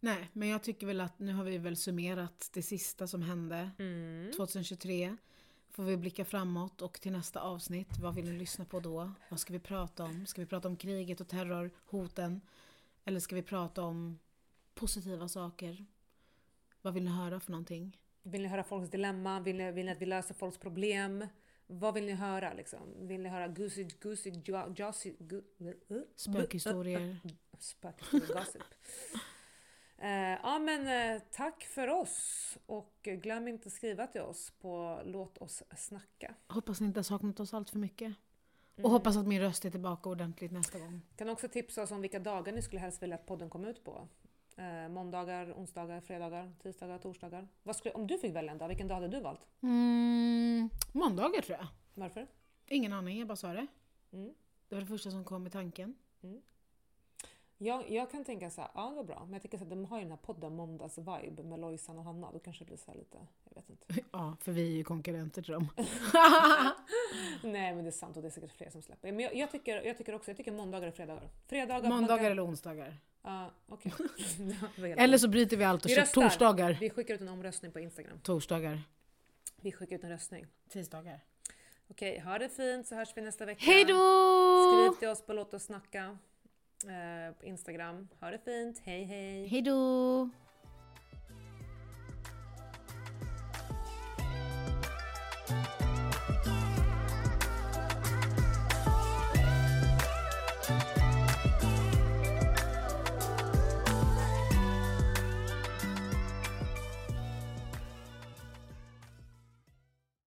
Speaker 2: Nej, men jag tycker väl att nu har vi väl summerat det sista som hände
Speaker 1: Mm.
Speaker 2: 2023. Får vi blicka framåt och till nästa avsnitt. Vad vill ni lyssna på då? Vad ska vi prata om? Ska vi prata om kriget och terrorhoten? Eller ska vi prata om positiva saker? Vad vill ni höra för någonting?
Speaker 1: Vill ni höra folks dilemma? Vill ni, vill ni att vi löser folks problem? Vad vill ni höra liksom? Vill ni höra Gucci, Gucci, Jossi, Jossi, Gu-
Speaker 2: Spökhistorier.
Speaker 1: Spökhistoria uh, gossip. Eh, ja men eh, tack för oss och glöm inte skriva till oss på låt oss snacka.
Speaker 2: Hoppas ni inte har saknat oss allt för mycket. Och hoppas att min röst är tillbaka ordentligt nästa gång.
Speaker 1: Kan också tipsa oss om vilka dagar ni skulle helst vilja att podden kom ut på. Eh, måndagar, onsdagar, fredagar, tisdagar, torsdagar. Vad skulle, om du fick välja en dag, vilken dag hade du valt?
Speaker 2: Mm, måndagar tror jag.
Speaker 1: Varför?
Speaker 2: Ingen aning, jag bara sa det.
Speaker 1: Mm.
Speaker 2: Det var det första som kom i tanken.
Speaker 1: Jag, jag kan tänka så här, ja det var bra, men jag tänker så här, de har ju den här podden Måndags-vibe med Lojsan och Hanna, då kanske det blir så här lite, jag vet inte.
Speaker 2: Ja, för vi är ju konkurrenter till dem.
Speaker 1: Nej men det är sant och det är säkert fler som släpper. Men jag, jag, tycker, jag tycker också, jag tycker måndagar och fredagar. Fredagar,
Speaker 2: Måndagar eller onsdagar.
Speaker 1: Ja, okej. Det var hela-
Speaker 2: Eller så bryter vi allt och
Speaker 1: Vi
Speaker 2: kör
Speaker 1: röstar.
Speaker 2: torsdagar.
Speaker 1: Vi skickar ut en omröstning på Instagram.
Speaker 2: Torsdagar.
Speaker 1: Vi skickar ut en röstning.
Speaker 2: Tisdagar.
Speaker 1: Okej, ha det fint så hörs vi nästa vecka.
Speaker 2: Hej då!
Speaker 1: Skriv till oss på Låt oss snacka eh, på Instagram. Ha det fint, hej hej!
Speaker 2: Hej då!